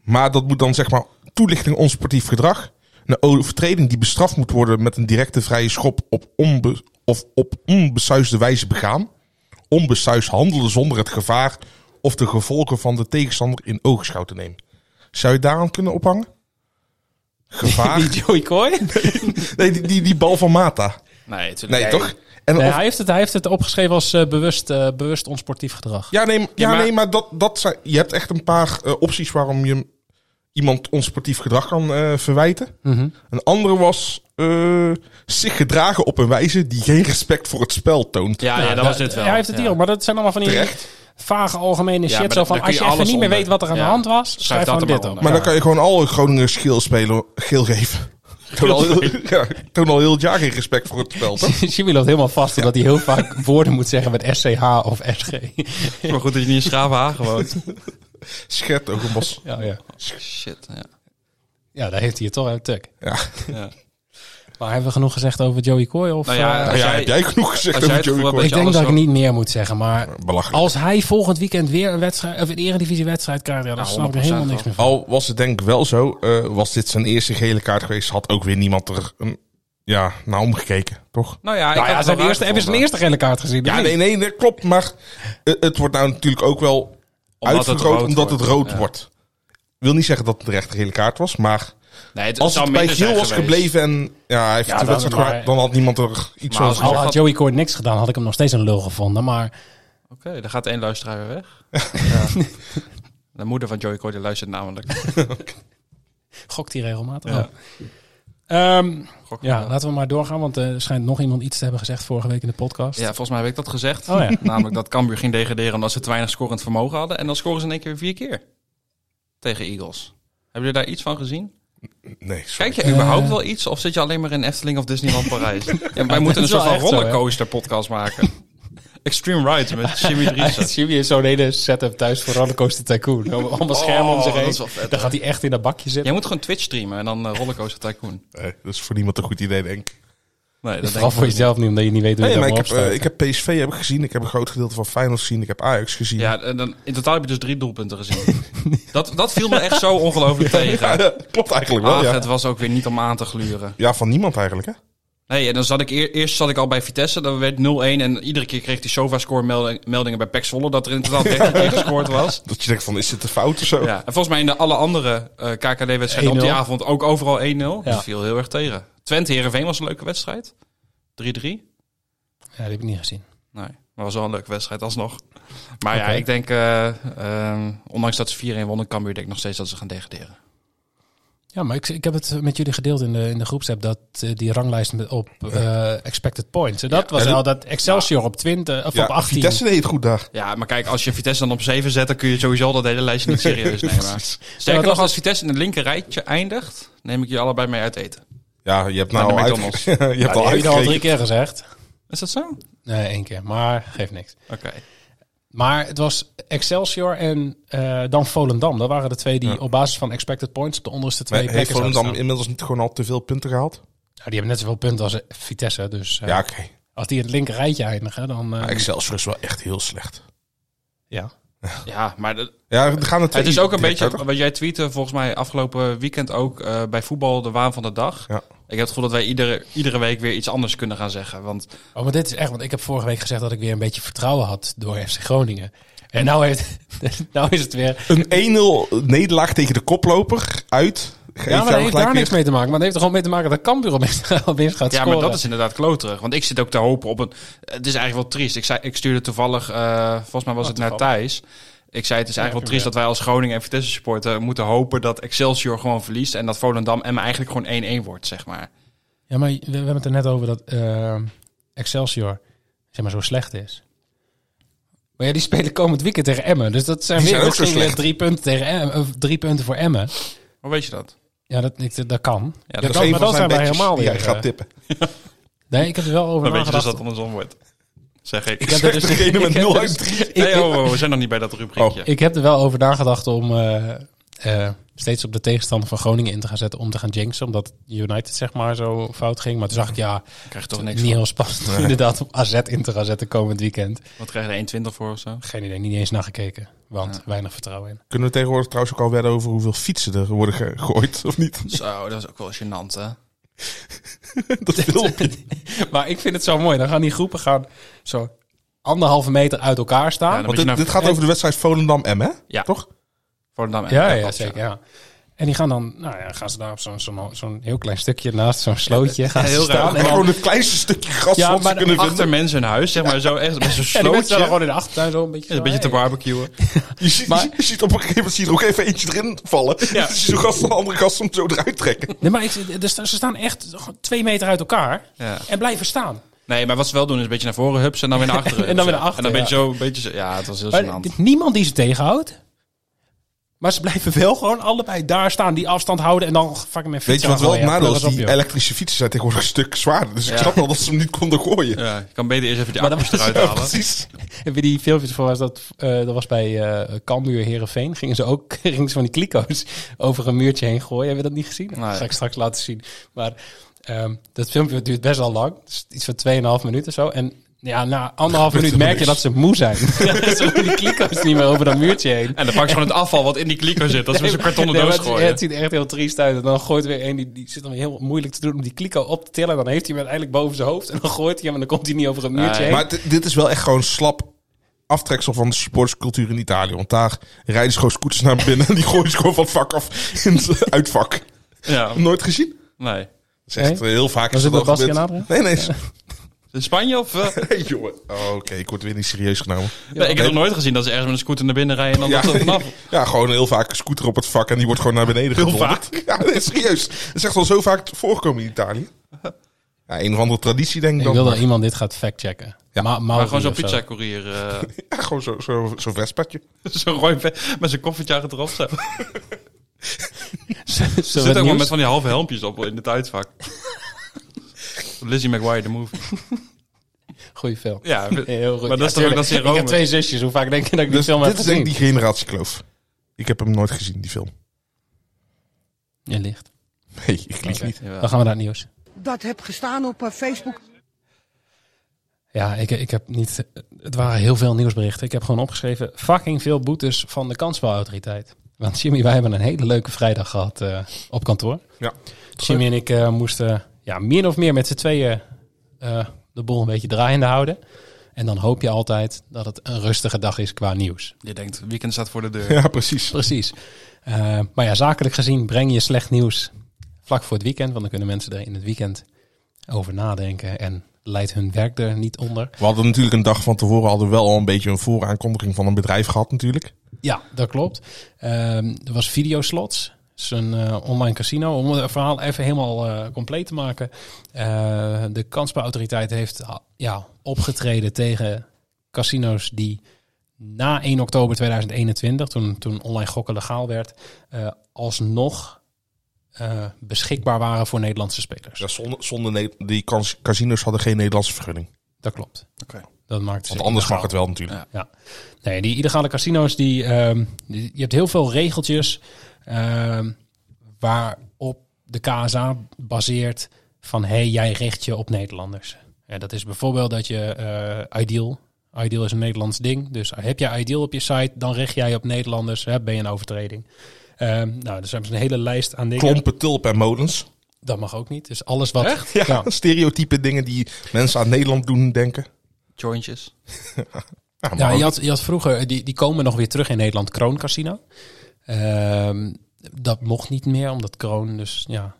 S8: Maar dat moet dan zeg maar toelichting onsportief gedrag. Een overtreding die bestraft moet worden met een directe vrije schop op, onbe of op onbesuisde wijze begaan. Onbesuisd handelen zonder het gevaar of de gevolgen van de tegenstander in oogschouw te nemen. Zou je daaraan kunnen ophangen?
S1: die
S8: Gevaar?
S1: Joey Kooi.
S8: Nee, die, die, die bal van Mata.
S6: Nee, natuurlijk
S8: Nee,
S6: niet.
S8: toch? En
S1: Nee,
S8: of-
S1: hij, heeft het, hij heeft het opgeschreven als eh, bewust, eh, bewust onsportief gedrag.
S8: Ja, nee, ja,
S6: maar-
S8: maar, nee, maar dat, dat zijn, je hebt echt een paar eh, opties waarom je iemand onsportief gedrag kan eh, verwijten. Een andere was eh, zich gedragen op een wijze die geen respect voor het spel toont.
S6: Ja, ja, dat was dit wel.
S1: Hij heeft het
S6: Ja.
S1: hier ook, maar dat zijn allemaal van die
S8: Terecht.
S1: vage algemene
S6: maar
S1: shit. Zo
S6: daar-
S1: van,
S6: daar kun
S1: als
S6: je
S1: je even
S6: alles
S1: niet meer
S6: onder.
S1: weet wat er aan
S6: Ja.
S1: de hand was,
S6: Schrijf
S1: schrijf,
S6: dat
S1: gewoon
S6: er maar
S1: dit op.
S6: onder.
S8: Maar dan kan je gewoon alle Groningen geel, spelen, geel geven. Toon al, heel, ja, toon al heel het jaar geen respect voor het spel, toch?
S1: Jimmy loopt helemaal vast omdat hij heel vaak woorden moet zeggen met SCH of SG.
S6: Maar goed dat je niet in Schavenhagen woont.
S8: Schet ook een bos.
S1: ja, ja.
S6: Shit, ja.
S1: ja, daar heeft hij het toch uit tuk.
S8: Ja.
S6: ja.
S1: Maar hebben we genoeg gezegd over Joey Coy? Of,
S6: Nou ja,
S1: eh,
S8: Nou ja,
S6: jij-
S8: heb jij genoeg gezegd
S6: als jij
S8: over
S6: het
S8: Joey
S6: gevoel
S8: Coy?
S6: hebt
S1: ik denk
S6: alles
S1: dat ik
S6: wel-
S1: niet meer moet zeggen, maar
S8: Belachelijk.
S1: als hij volgend weekend weer een, wedstrijd, of een eredivisiewedstrijd krijgt, ja, dan
S6: Ja,
S1: snap ik er helemaal
S6: 100%
S1: niks meer van.
S8: Al was het denk ik wel zo, eh, was dit zijn eerste gele kaart geweest, had ook weer niemand er een, ja, naar omgekeken, toch?
S6: Nou ja, ik
S1: Nou ja,
S6: had het
S1: zijn
S6: wel
S1: eerste,
S6: raar
S1: hebben ze de
S6: gevonden.
S1: eerste gele kaart gezien? of
S8: Ja,
S1: niet?
S8: nee, nee, dat klopt, maar eh, het wordt nou natuurlijk ook wel
S6: Omdat het
S8: uitvergroot
S6: rood
S8: omdat het
S6: wordt,
S8: rood
S6: ja.
S8: wordt. Wil niet zeggen dat het terecht een gele kaart was, maar
S6: Nee, het
S8: als
S6: zou
S8: het bij
S6: minder
S8: Giel
S6: zijn
S8: was
S6: geweest.
S8: gebleven en ja, hij heeft
S1: Ja,
S8: de
S1: dan-
S8: wedstrijd
S1: maar-
S8: gemaakt, dan had niemand er iets
S6: Maar
S8: van
S6: als-
S8: gezegd.
S1: Al had Joey Coy niks gedaan, had ik hem nog steeds een lul gevonden. Maar
S6: Oké, dan gaat één luisteraar weer weg. De moeder van Joey Coy, die luistert namelijk.
S1: gokt hij regelmatig.
S6: Ja.
S1: wel. Ehm,
S6: Gok-
S1: ja, laten we maar doorgaan, want eh, er schijnt nog iemand iets te hebben gezegd vorige week in de podcast.
S6: Ja, volgens mij heb ik dat gezegd.
S1: Oh ja.
S6: Namelijk dat Cambuur ging degraderen omdat ze te weinig scorend vermogen hadden. En dan scoren ze in één keer vier keer tegen Eagles. Hebben jullie daar iets van gezien?
S8: Nee, sorry.
S6: Kijk je überhaupt
S1: Eh.
S6: wel iets? Of zit je alleen maar in Efteling of Disneyland Parijs? ja, wij
S1: dat
S6: moeten een
S1: is
S6: soort
S1: wel
S6: van
S1: echt zo, hè?
S6: rollercoaster podcast maken. Extreme Ride met Jimmy Driessen.
S1: Jimmy heeft zo'n hele setup thuis voor Rollercoaster Tycoon. Allemaal schermen om zich
S6: dat
S1: heen.
S6: is wel vet,
S1: Dan gaat hij echt in dat bakje zitten.
S6: Jij moet gewoon Twitch streamen en dan eh, Rollercoaster Tycoon.
S8: Nee, dat is voor niemand een goed idee, denk ik.
S6: Nee,
S1: Dus
S6: dat denk ik
S1: vooral voor jezelf niet, omdat je niet weet hoe je
S8: Nee, maar
S1: dat
S8: ik
S1: moet
S8: heb, eh,
S1: opstellen.
S8: ik heb PSV heb ik gezien, ik heb een groot gedeelte van Finals gezien, ik heb Ajax gezien.
S6: Ja, en dan, in totaal heb je dus drie doelpunten gezien. dat, dat viel me echt zo ongelooflijk tegen.
S8: klopt eigenlijk wel,
S6: Ach,
S8: ja.
S6: het was ook weer niet om aan te gluren.
S8: Ja, van niemand eigenlijk, hè?
S6: Nee, en dan zat ik eer- eerst zat ik al bij Vitesse, dan werd 0-1 en iedere keer kreeg die Sova-score melding- meldingen bij Pek Zwolle dat er in totaal 13 keer gescoord was.
S8: Dat je denkt van, is dit een fout of zo?
S6: Ja. En volgens mij in de alle andere eh, KKD-wedstrijden op die
S1: 1-0.
S6: avond ook overal 1-0.
S1: Ja.
S6: Dat viel heel erg tegen. Twente Herenveen was een leuke wedstrijd. 3-3. Nee,
S1: Ja, die heb eh, ik niet gezien.
S6: maar was wel een leuke wedstrijd alsnog. Maar ja,
S1: Oké.
S6: ik denk, eh, ehm, ondanks dat ze 4-1 wonnen, Cambuur denk ik nog steeds dat ze gaan degraderen.
S1: Ja, maar ik, ik heb het met jullie gedeeld in de, in de groepsapp, dat eh, die ranglijst met, op eh, expected points. En dat was
S8: Ja,
S1: al dat Excelsior op 20, of
S8: Ja,
S1: op 18.
S8: Vitesse deed het goed daar.
S6: Ja, maar kijk, als je Vitesse dan op 7 zet, dan kun je sowieso dat hele lijstje niet serieus nemen. Sterker nog, als Vitesse in het linker rijtje eindigt, neem ik je allebei mee uit eten.
S8: Ja, je hebt
S6: Naar
S8: nou
S6: de
S8: al
S6: McDonald's.
S8: uitge- je
S1: Ja,
S8: hebt
S1: die
S8: al
S1: heb je al drie
S8: uitgekeken.
S1: keer gezegd.
S6: Is dat zo? Oké.
S1: Nee, één keer. Maar geeft niks. Maar het was Excelsior en eh, dan Volendam. Dat waren de twee die
S8: Ja.
S1: op basis van expected points op de onderste twee
S8: Maar
S1: plekken
S8: Heeft
S1: zouden
S8: Volendam
S1: staan.
S8: inmiddels niet gewoon al te veel punten gehaald?
S1: Ja, die hebben net zoveel punten als eh, Vitesse. Dus eh,
S8: Ja, oké.
S1: als die in het linker rijtje eindigen, dan... eh,
S8: Maar Excelsior is wel echt heel slecht.
S1: ja.
S6: Ja, maar de-
S8: Ja, er gaan er twee
S6: het is ook een
S8: direct
S6: beetje,
S8: uit.
S6: wat jij tweette volgens mij afgelopen weekend ook eh, bij voetbal, de waan van de dag.
S8: Ja.
S6: Ik heb het gevoel dat wij iedere, iedere week weer iets anders kunnen gaan zeggen. Want
S1: Oh, maar dit is echt... Want ik heb vorige week gezegd dat ik weer een beetje vertrouwen had door FC Groningen. En nou, heeft, nou is het weer...
S8: Een 1-0 nederlaag tegen de koploper uit. Geeft
S1: Ja, maar dat
S8: jou
S1: heeft
S8: gelijk
S1: daar niks
S8: weer-
S1: mee te maken. Maar dat heeft er gewoon mee te maken dat Cambuur opeens opeens gaat
S6: ja,
S1: scoren.
S6: maar dat is inderdaad kloterig. Want ik zit ook te hopen op een. Het is eigenlijk wel triest. Ik, zei, ik stuurde toevallig, eh, volgens mij was
S1: Oh,
S6: het naar Thijs. Ik zei, het is eigenlijk wel triest dat wij als Groningen en Vitesse supporter moeten hopen dat Excelsior gewoon verliest. En dat Volendam en eigenlijk gewoon 1-1 wordt, zeg maar.
S1: Ja, maar we, we hebben het er net over dat eh, Excelsior zeg maar, zo slecht is. Maar ja, die spelen komend weekend tegen Emmen. Dus dat zijn,
S8: Die
S1: weer,
S8: zijn ook zo
S1: misschien weer
S8: slecht.
S1: drie, punten tegen Emmen, of drie punten voor Emmen.
S6: Hoe weet je dat?
S1: Ja, dat, ik, dat kan.
S6: Ja,
S1: dat
S8: Dat is
S1: kan,
S8: een
S1: maar
S8: van
S1: dat zijn
S8: zijn
S1: wij
S8: bedjes
S1: helemaal
S8: die
S1: weer.
S8: jij gaat
S1: eh,
S8: tippen.
S1: nee, ik heb er wel over
S6: Dan weet je
S1: nagedacht.
S6: dus dat het andersom wordt. Zeg ik.
S1: ik heb er dus,
S8: Degene
S1: ik
S8: met
S1: heb
S8: 0
S1: er dus-
S8: uit 3.
S1: ik- Oh,
S6: Nee, oh, oh, we zijn nog niet bij dat rubriekje.
S1: Ik heb er wel over nagedacht om eh, eh, steeds op de tegenstander van Groningen in te gaan zetten om te gaan jinxen. Omdat United zeg maar zo fout ging. Maar toen zag ik, ja,
S6: Ik krijg toch niks
S1: niet heel spannend om inderdaad op AZ in te gaan zetten komend weekend.
S6: van. Wat krijg je er 1,20 voor of zo?
S1: Geen idee, niet eens naar gekeken. Want weinig vertrouwen in.
S8: Kunnen we tegenwoordig trouwens ook al wedden over hoeveel fietsen er worden gegooid, of niet?
S6: Zo, dat is ook wel gênant, hè?
S8: Dat wil
S1: maar ik vind het zo mooi. Dan gaan die groepen gaan zo anderhalve meter uit elkaar
S6: Ja,
S1: staan.
S6: dan
S8: Want
S6: moet je
S8: dit,
S6: naar
S8: dit gaat over de wedstrijd Volendam-M, hè?
S6: Ja.
S8: Toch?
S6: Volendam en
S1: Ja, ja,
S6: Emmen.
S1: zeker. Ja. En die gaan dan, nou ja, gaan ze daar op zo'n zo'n zo'n heel klein stukje naast zo'n slootje gaan
S6: ja,
S1: ze
S6: heel raar.
S1: staan. En,
S8: Gewoon
S1: dan,
S8: het kleinste stukje gras
S1: Ja,
S8: wat ze
S1: maar
S8: kunnen vinden.
S6: Achter mensen in huis, zeg maar zo echt. Met
S1: en die mensen
S6: zo'n
S1: staan dan
S6: slootje.
S1: gewoon in de achtertuin zo een beetje.
S6: Een
S1: zo,
S6: beetje te
S1: hey.
S6: barbecuen.
S8: Je ziet,
S1: Maar-
S8: je ziet op een gegeven moment zie je er ook even eentje erin vallen. Ja. Dan zie je zo'n gast van de andere gast soms zo eruit trekken.
S1: Nee, maar ik, dus ze staan echt gewoon twee meter uit elkaar
S6: Ja.
S1: en blijven staan.
S6: Nee, maar wat ze wel doen is een beetje naar voren hups en dan weer naar achteren.
S1: En dan weer
S6: hupsen.
S1: naar achteren,
S6: En dan
S1: ja.
S6: beetje zo, een beetje zo. Ja, het was heel
S1: Maar
S6: gênant.
S1: dit- niemand die ze tegenhoudt. Maar ze blijven wel gewoon allebei daar staan, die afstand houden en dan fucking mijn
S8: Weet
S1: fiets
S8: je wat wel het
S1: aangooien.
S8: nadeel is?
S1: Pleur eens
S8: Die
S1: op, joh.
S8: elektrische fietsen zijn tegenwoordig een stuk zwaarder. Dus ik snap wel dat ze hem niet konden gooien.
S6: Ja, je kan beter eerst even die
S1: Maar dat
S6: accu's
S1: was- dus
S6: eruit
S8: Ja,
S6: halen.
S8: precies.
S1: Heb je die filmpjes voor was dat, eh, dat was bij eh Kambuur Herenveen. Gingen ze ook gingen ze van die kliko's over een muurtje heen gooien. Hebben we dat niet gezien?
S6: Nee.
S1: Dat ga ik straks laten zien. Maar ehm, dat filmpje duurt best wel lang. Het is iets van 2,5 minuten zo. En ja, na anderhalf
S8: Gebeurt
S1: minuut merk je
S8: helemaal
S1: dat ze moe zijn. Ja, ze doen die kliko's niet meer over dat muurtje heen.
S6: En dan pak je gewoon het afval wat in die kliko zit. Dat is met zo'n kartonnen
S1: Nee, maar
S6: doos
S1: het,
S6: gooien.
S1: het ziet er echt heel triest uit. En dan gooit er weer een, die, die zit dan heel moeilijk te doen om die kliko op te tillen. En dan heeft hij hem uiteindelijk boven zijn hoofd. En dan gooit hij hem en dan komt hij niet over een muurtje
S6: Nee.
S1: heen.
S8: Maar dit- dit is wel echt gewoon slap aftreksel van de supporterscultuur in Italië. Want daar rijden ze gewoon scooters naar binnen en die gooien ze gewoon van het vak af in het uitvak.
S6: Ja,
S8: Nooit gezien?
S6: nee.
S8: Dat is echt eh, heel vaak.
S1: Was het
S8: is dat
S1: met
S8: al
S1: Bastiaan
S8: gebeurd. Nee, nee.
S6: In Spanje of... eh?
S8: Hey, jongen. Oh, Oké, ik word weer niet serieus genomen.
S6: nee, ik heb nog nooit gezien dat ze ergens met een scooter naar binnen rijden en dan
S8: Ja,
S6: dat er vanaf.
S8: ja, gewoon heel vaak een scooter op het vak en die wordt gewoon naar beneden
S6: Heel
S8: gedonderd. Ja, nee, serieus. Dat is echt wel zo vaak voorkomen in Italië. Ja, een of andere traditie denk ik
S1: Ik
S8: dan.
S1: wil dat
S8: maar-
S1: iemand dit gaat factchecken. Ja, maar,
S6: Maar gewoon zo'n pizzacourier. eh,
S8: Ja, gewoon zo'n zo, zo vestpadje.
S6: zo'n rooi ve- met zijn koffertje achterop. Zo. Er
S1: Zit
S6: zitten ook wel met van die halve helmpjes op in het uitvak. Lizzie McGuire, de movie.
S1: Goeie film.
S6: Ja,
S1: Heel goed.
S6: maar dat is
S1: Ja,
S6: toch ook dat ze in
S1: tuurlijk. Ik
S6: Rome...
S1: heb twee zusjes. Hoe vaak denk je dat ik die
S8: Dus
S1: film heb
S8: dit is denk ik
S1: gezien?
S8: die generatiekloof. Ik heb hem nooit gezien, die film.
S1: Je ligt.
S8: Nee, ik lieg niet.
S6: Jawel.
S1: Dan gaan we naar het nieuws.
S9: dat heb gestaan op eh, Facebook.
S1: Ja, ik, ik heb niet... Het waren heel veel nieuwsberichten. Ik heb gewoon opgeschreven... fucking veel boetes van de kansspelautoriteit. Want Jimmy, wij hebben een hele leuke vrijdag gehad eh, op kantoor.
S8: Ja.
S1: Jimmy en ik eh, moesten ja, meer of meer met z'n tweeën eh, de boel een beetje draaiende houden. En dan hoop je altijd dat het een rustige dag is qua nieuws.
S6: Je denkt, weekend staat voor de deur.
S8: Ja, precies.
S1: Precies. Eh, maar ja, zakelijk gezien breng je slecht nieuws vlak voor het weekend. Want dan kunnen mensen er in het weekend over nadenken. En leidt hun werk er niet onder.
S8: We hadden natuurlijk een dag van tevoren hadden we wel al een beetje een vooraankondiging van een bedrijf gehad natuurlijk.
S1: Ja, dat klopt. Ehm, er was Videoslots. Dat is een eh, online casino. Om het verhaal even helemaal eh, compleet te maken. Eh, de kansspelautoriteit heeft ah, ja, opgetreden tegen casino's die na 1 oktober 2021, toen, toen online gokken legaal werd, eh, alsnog eh, beschikbaar waren voor Nederlandse spelers.
S8: Ja, zonder, zonder Ne- die kas- casinos hadden geen Nederlandse vergunning.
S1: Dat klopt.
S6: Oké.
S1: Dat maakt
S8: Want anders mag het wel natuurlijk.
S1: Nee, die illegale casino's, die, ehm, die- je hebt heel veel regeltjes ehm, waarop de KSA baseert van hé, hey, jij richt je op Nederlanders. Ja, dat is bijvoorbeeld dat je eh, Ideal, Ideal is een Nederlands ding, dus heb jij Ideal op je site, dan richt jij je op Nederlanders, hè, ben je een overtreding. Ehm, nou, dus hebben ze een hele lijst aan dingen.
S8: Klompen, tulpen en molens.
S1: Dat mag ook niet. Dus alles wat...
S6: Echt?
S8: Ja,
S1: Ja.
S8: stereotype dingen die mensen aan Nederland doen denken.
S6: Jointjes.
S8: Ja, maar
S1: Ja,
S8: ook-
S1: je had, je had vroeger, eh, die, die komen nog weer terug in Nederland, Kroon Casino. Ehm, dat mocht niet meer, omdat Kroon dus ja,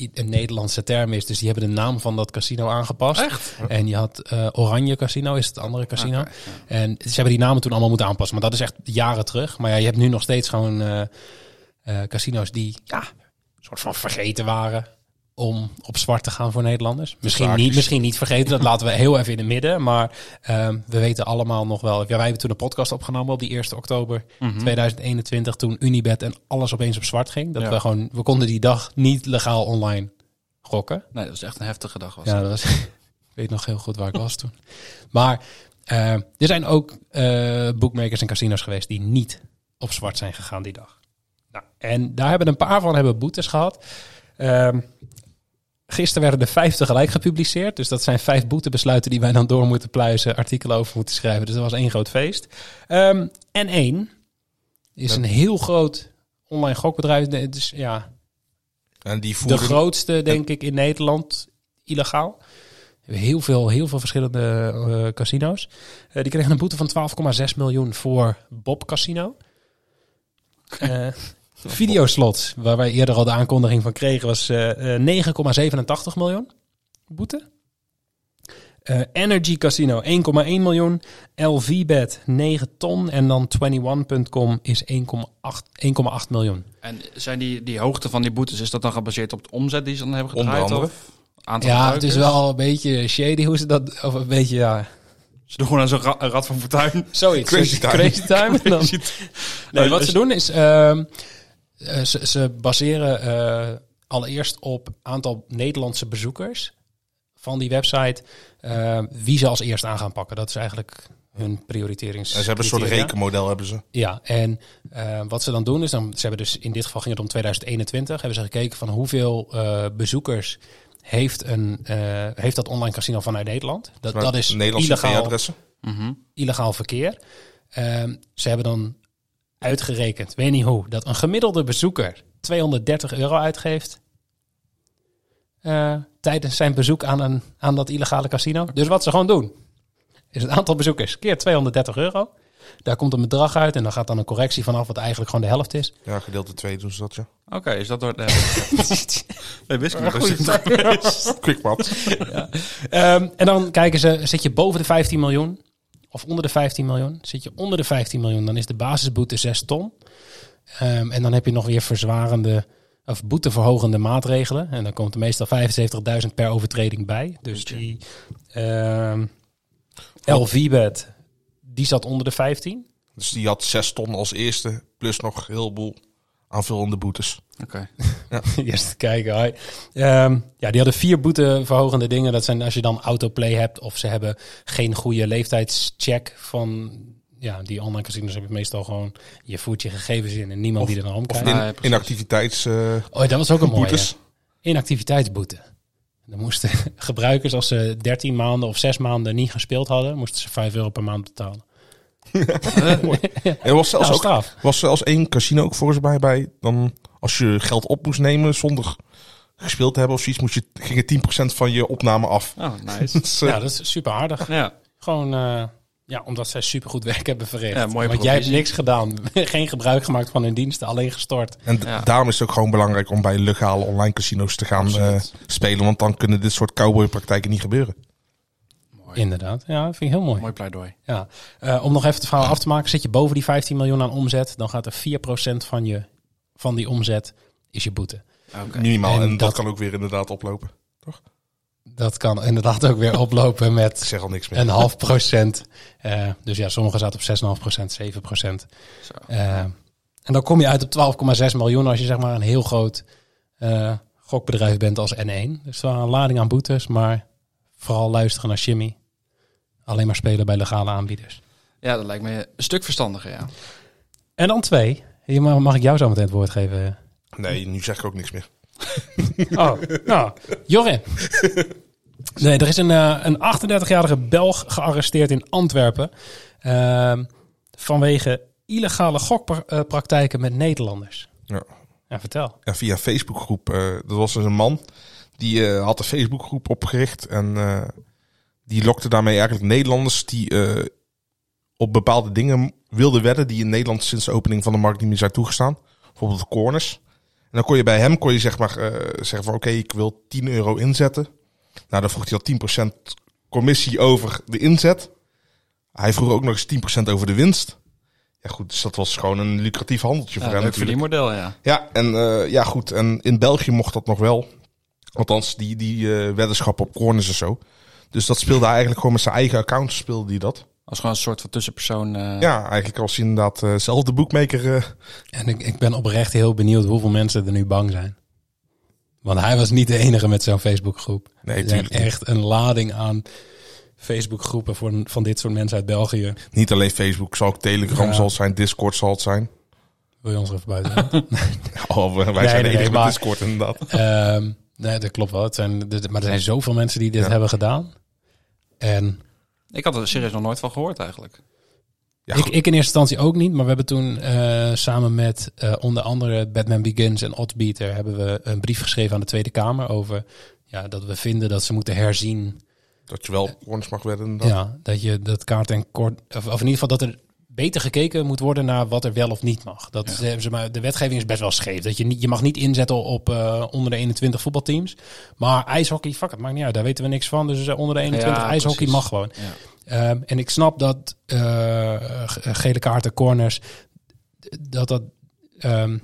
S1: i- een Nederlandse term is. Dus die hebben de naam van dat casino aangepast.
S6: Echt?
S1: En je had eh, Oranje Casino, is het andere casino. En ze hebben die namen toen allemaal moeten aanpassen. Maar dat is echt jaren terug. Maar ja, je hebt nu nog steeds gewoon eh, eh, casino's die ja, een soort van vergeten waren om op zwart te gaan voor Nederlanders. Misschien
S8: Zaakjes.
S1: niet, misschien niet vergeten, dat laten we heel even in het midden. Maar ehm, we weten allemaal nog wel... Ja, wij hebben toen een podcast opgenomen op die 1 oktober
S6: Mhm.
S1: 2021... toen Unibet en alles opeens op zwart ging. Dat
S6: Ja.
S1: we gewoon... We konden die dag niet legaal online gokken.
S6: Nee, dat was echt een heftige dag. Was
S1: Ja, dat
S6: dat.
S1: was, ik weet nog heel goed waar ik was toen. Maar eh, er zijn ook eh bookmakers en casino's geweest die niet op zwart zijn gegaan die dag. Nou, en daar hebben een paar van hebben boetes gehad. Ehm, gisteren werden er vijf tegelijk gepubliceerd. Dus dat zijn vijf boetebesluiten die wij dan door moeten pluizen, artikelen over moeten schrijven. Dus dat was één groot feest. Ehm, en één is een heel groot online gokbedrijf. Nee, Het is ja,
S8: en die
S1: de
S8: voeren...
S1: grootste, denk ik, in Nederland illegaal. Heel veel, heel veel verschillende eh, casino's. Eh, die kregen een boete van 12,6 miljoen voor Bob Casino. Eh videoslot, waar wij eerder al de aankondiging van kregen, was eh, eh, 9,87 miljoen boete. Eh, Energy Casino 1,1 miljoen. LVBet 9 ton. En dan 21.com is 1,8 1,8 miljoen.
S6: En zijn die, die hoogte van die boetes, is dat dan gebaseerd op de omzet die ze dan hebben
S8: Onder
S6: gedraaid?
S8: andere.
S6: Of aantal
S1: Ja, het is
S6: gebruikers?
S1: wel een beetje shady hoe ze dat. Of een beetje, ja.
S6: Ze doen gewoon aan zo'n ra- een rad van fortuin.
S1: Zoiets.
S8: Crazy time.
S1: Crazy time. En dan- Nee, wat
S6: dus-
S1: ze doen is, ehm, eh, ze, ze baseren eh, allereerst op aantal Nederlandse bezoekers van die website eh, wie ze als eerst aan gaan pakken. Dat is eigenlijk hun prioriterings.
S8: En ze hebben een soort
S1: criteria.
S8: rekenmodel hebben ze.
S1: Ja, en eh, wat ze dan doen is, dan, ze hebben dus in dit geval ging het om 2021, hebben ze gekeken van hoeveel eh, bezoekers heeft, een, eh, heeft dat online casino vanuit Nederland. Dat, dat is
S8: Nederlandse
S1: illegaal
S8: IP-adressen.
S1: Mhm. illegaal verkeer. Ehm, ze hebben dan uitgerekend, weet niet hoe, dat een gemiddelde bezoeker 230 euro uitgeeft. eh, tijdens zijn bezoek aan, een, aan dat illegale casino. Dus wat ze gewoon doen, is het aantal bezoekers keer 230 euro. Daar komt een bedrag uit en dan gaat dan een correctie vanaf, wat eigenlijk gewoon de helft is.
S8: Ja, gedeelte 2 doen ze dat, ja.
S6: Oké, is dat door... Nee, nee wist ik niet. Dat is-
S8: Quickpad.
S1: Ehm, en dan kijken ze, zit je boven de 15 miljoen of onder de 15 miljoen? Zit je onder de 15 miljoen, dan is de basisboete 6 ton. Ehm, en dan heb je nog weer verzwarende of boeteverhogende maatregelen. En dan komt er meestal 75.000 per overtreding bij. Dus die ehm LV-bed, die zat onder de 15.
S8: Dus die had 6 ton als eerste, plus nog een heleboel aanvullende boetes.
S6: Oké.
S1: Eerst te kijken. hoi. Ehm, ja, die hadden vier boeteverhogende dingen. Dat zijn als je dan autoplay hebt of ze hebben geen goede leeftijdscheck van... Ja, die online casinos heb je meestal gewoon... Je voert je gegevens in en niemand die er naar
S8: Of
S1: omkijkt.
S8: in,
S6: ja, precies.
S8: inactiviteits... eh,
S1: Oh, ja, dat was ook een mooie.
S8: boetes.
S1: Inactiviteitsboete. Dan moesten gebruikers, als ze 13 maanden of 6 maanden niet gespeeld hadden... moesten ze 5 euro per maand betalen.
S8: Er was zelfs,
S1: Nou,
S8: ook,
S1: straf.
S8: was zelfs één casino ook volgens mij bij. Dan als je geld op moest nemen zonder gespeeld te hebben of zoiets, moest je, ging er 10% van je opname af.
S6: Oh, nice.
S8: Dus, eh,
S1: Ja, dat is super aardig.
S6: Ja.
S1: Gewoon... eh, ja, omdat zij supergoed werk hebben verricht.
S6: Ja, mooie
S1: Want jij hebt
S6: provisie.
S1: niks gedaan. Geen gebruik gemaakt van hun diensten. Alleen gestort.
S8: En d-
S6: Ja.
S8: daarom is het ook gewoon belangrijk om bij legale online casino's te gaan eh, spelen. Want dan kunnen dit soort cowboypraktijken niet gebeuren.
S1: Inderdaad, ja, vind ik heel mooi.
S6: Mooi pleidooi.
S1: Ja. Eh, om nog even het verhaal af te maken, zit je boven die 15 miljoen aan omzet, dan gaat er 4% van, je, van die omzet is je boete.
S8: Minimaal.
S1: En
S8: En, dat,
S1: dat-
S8: kan ook weer inderdaad oplopen.
S1: Dat kan inderdaad ook weer oplopen
S8: Ik
S1: met
S8: zeg al niks meer.
S1: een half procent. Eh, dus ja, sommigen zaten op 6,5 procent, 7 procent. Eh,
S6: Zo.
S1: en dan kom je uit op 12,6 miljoen als je zeg maar een heel groot eh, gokbedrijf bent als N1. Dus wel een lading aan boetes, maar vooral luisteren naar Jimmy. Alleen maar spelen bij legale aanbieders.
S6: Ja, dat lijkt me een stuk verstandiger, ja.
S1: En dan twee. Hier mag, mag ik jou zo meteen het woord geven?
S8: Nee, nu zeg ik ook niks meer.
S1: Oh, nou. Jorin. Nee, er is een, eh, een 38-jarige Belg gearresteerd in Antwerpen. ehm, vanwege illegale gokpraktijken met Nederlanders.
S8: Ja.
S1: Ja, vertel.
S8: ja, via Facebookgroep. eh dat was dus een man die eh, had een Facebookgroep opgericht en eh, die lokte daarmee eigenlijk Nederlanders die eh, op bepaalde dingen wilden wedden die in Nederland sinds de opening van de markt niet meer zijn toegestaan. Bijvoorbeeld de corners. En dan kon je bij hem kon je zeg maar eh, zeggen van oké, ik wil 10 euro inzetten. Nou, dan vroeg hij al 10% commissie over de inzet. Hij vroeg ook nog eens 10% over de winst. Ja goed, dus dat was gewoon een lucratief handeltje
S6: ja
S8: voor hem
S6: leuk
S8: natuurlijk.
S6: verdienmodel, ja.
S8: Ja, en eh, ja, goed. En in België mocht dat nog wel. Althans, die, die eh, weddenschappen op corners en zo. Dus dat speelde hij eigenlijk gewoon met zijn eigen account speelde hij dat.
S6: Als gewoon een soort van tussenpersoon. eh,
S8: Ja, eigenlijk was hij inderdaad eh, zelf de boekmaker. eh.
S1: En ik, ik ben oprecht heel benieuwd hoeveel mensen er nu bang zijn. Want hij was niet de enige met zo'n Facebookgroep.
S8: Nee,
S1: er zijn
S8: tuurlijk niet.
S1: echt een lading aan Facebookgroepen voor, van dit soort mensen uit België.
S8: Niet alleen Facebook, zal ook Telegram
S1: Ja.
S8: zal het zijn, Discord zal het zijn.
S1: Wil je ons er even buiten? laten?
S8: Oh, wij
S1: Nee,
S8: zijn
S1: nee,
S8: de enige
S1: nee,
S8: met
S1: maar-
S8: Discord inderdaad.
S1: Ehm, nee, dat klopt wel. Het zijn, dit- maar er zijn zoveel mensen die dit
S8: Ja.
S1: hebben gedaan. En
S6: Ik had er serieus nog nooit van gehoord, eigenlijk.
S8: Ja,
S1: ik,
S8: goed.
S1: ik in eerste instantie ook niet. Maar we hebben toen eh, samen met eh, onder andere Batman Begins en Oddbeater... hebben we een brief geschreven aan de Tweede Kamer over... Ja, dat we vinden dat ze moeten herzien
S8: Dat je wel op corners mag wedden inderdaad.
S1: ja, dat je dat kaart en kort... Of, of in ieder geval dat er beter gekeken moet worden naar wat er wel of niet mag. Dat is, eh, zeg maar, de wetgeving is best wel scheef. Dat je, niet, je mag niet inzetten op eh, onder de 21 voetbalteams. Maar ijshockey, fuck, het maakt niet uit. Daar weten we niks van. Dus eh, onder de 21
S6: Ja,
S1: ijshockey
S6: precies.
S1: mag gewoon. Ehm, en ik snap dat eh, ge- gele kaarten, corners, d- dat dat ehm,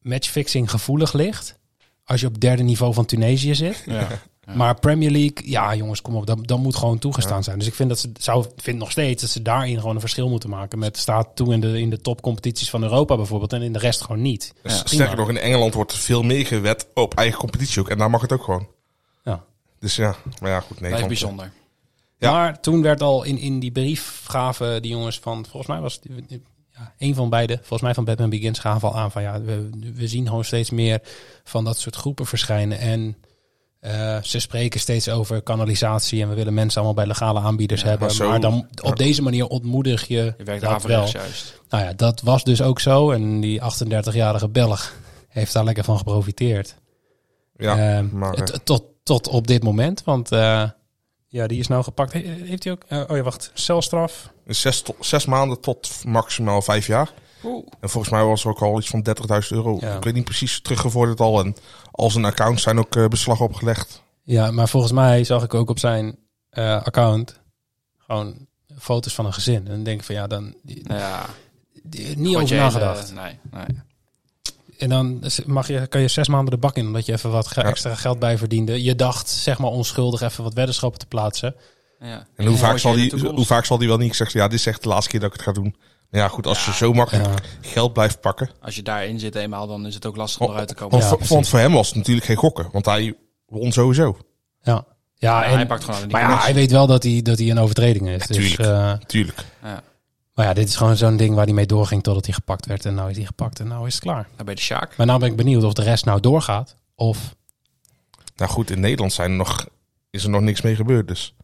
S1: matchfixing gevoelig ligt. Als je op derde niveau van Tunesië zit.
S6: Ja.
S1: Maar Premier League, ja jongens, kom op, dat, dat moet gewoon toegestaan zijn. Dus ik vind, dat ze, zou, vind nog steeds dat ze daarin gewoon een verschil moeten maken. Met staat toe in de, in de topcompetities van Europa bijvoorbeeld en in de rest gewoon niet.
S8: S- Dus Sterker nog, in Engeland wordt veel meer gewet op eigen competitie ook. En daar mag het ook gewoon.
S1: Ja.
S8: Dus ja, maar ja, goed.
S6: Blijft
S8: Nederland.
S6: bijzonder.
S8: Ja.
S1: Maar toen werd al in, in die brief gaven die jongens van, volgens mij was het ja, een van beide, volgens mij van Batman Begins gaven al aan van ja, we, we zien gewoon steeds meer van dat soort groepen verschijnen. En eh, ze spreken steeds over kanalisatie en we willen mensen allemaal bij legale aanbieders hebben.
S8: maar
S1: Maar,
S8: zo-
S1: dan op
S8: ja.
S1: deze manier ontmoedig je,
S6: Je
S1: dat
S6: werkt
S1: wel.
S6: averechts juist.
S1: Nou ja, dat was dus ook zo. En die 38-jarige Belg heeft daar lekker van geprofiteerd.
S8: Ja,
S1: Ehm,
S8: maar, eh,
S1: t- tot, tot op dit moment. Want eh, ja, die is nou gepakt. He- heeft hij ook... eh, oh ja, wacht. Celstraf.
S8: zes, tot- zes maanden tot maximaal vijf jaar. En volgens mij was er ook al iets van 30.000 euro.
S1: Ja.
S8: Ik weet niet precies, teruggevorderd al. En als een account zijn ook eh, beslag opgelegd.
S1: Ja, maar volgens mij zag ik ook op zijn eh, account... gewoon foto's van een gezin. En dan denk ik van ja, dan... die-
S6: Ja,
S1: die- niet
S6: Goed,
S1: over
S6: je-
S1: nagedacht.
S6: eh, nee, nee.
S1: En dan is- mag je, kan je zes maanden de bak in... omdat je even wat ge-
S8: Ja.
S1: extra geld bij verdiende. Je dacht, zeg maar onschuldig, even wat weddenschappen te plaatsen.
S6: Ja.
S8: En hoe,
S6: Ja,
S8: vaak
S6: wat
S8: zal
S6: je in de
S8: die,
S6: toekomst-
S8: hoe vaak zal die wel niet gezegd ja, dit is echt de laatste keer dat ik het ga doen. Maar ja, goed, als je zo makkelijk
S1: Ja.
S8: geld blijft pakken.
S6: Als je daarin zit eenmaal, dan is het ook
S8: Oh,
S6: lastig om eruit te komen.
S8: Want,
S1: Ja,
S8: voor,
S1: precies.
S8: want voor hem was het natuurlijk geen gokken. Want hij won sowieso.
S1: Ja, ja,
S6: Ja,
S1: en,
S6: hij pakt gewoon aan die
S1: maar ja,
S6: kans.
S1: hij weet wel dat hij, dat hij een overtreding is. Dus,
S8: tuurlijk.
S1: eh,
S8: Tuurlijk.
S1: Maar ja, dit is gewoon zo'n ding waar hij mee doorging totdat hij gepakt werd. En nou is hij gepakt en nou is het klaar.
S6: Nou, Bij de Sjaak.
S1: Maar nou ben ik benieuwd of de rest nou doorgaat. Of
S8: Nou goed, in Nederland zijn er nog, is er nog niks mee gebeurd. Dus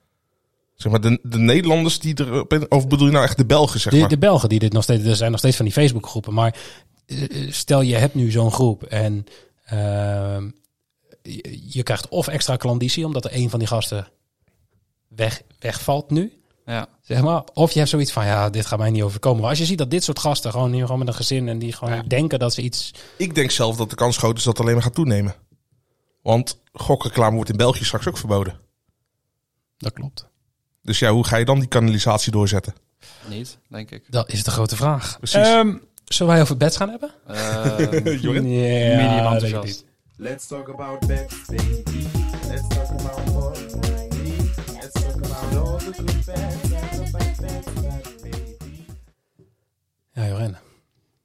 S8: zeg maar, de, de Nederlanders die er. op in- Of bedoel je nou echt de Belgen, zeg
S1: de,
S8: maar?
S1: de Belgen die dit nog steeds... Er zijn nog steeds van die Facebookgroepen. Maar eh, eh, stel je hebt nu zo'n groep en ehm, je, je krijgt of extra klanditie omdat er een van die gasten weg, wegvalt nu.
S6: Ja.
S1: Zeg maar, of je hebt zoiets van, ja, dit gaat mij niet overkomen. Maar als je ziet dat dit soort gasten gewoon, nu gewoon met een gezin... en die gewoon denken dat ze iets
S8: Ik denk zelf dat de kans groot is dat het alleen maar gaat toenemen. Want gokreclame wordt in België straks ook verboden.
S1: Dat klopt.
S8: Dus ja, hoe ga je dan die kanalisatie doorzetten?
S6: Niet, denk ik.
S1: Dat is de grote vraag.
S8: Precies.
S1: Ehm, zullen wij over bets gaan hebben?
S6: Ehm,
S8: Jorin?
S1: Ja,
S6: minimaal
S1: dat
S6: enthousiast.
S1: weet ik niet.
S10: Let's talk about bets, baby. Let's talk about ball, baby. Let's talk about all the good bets and the bad bets, bad baby.
S1: Ja, Jorin.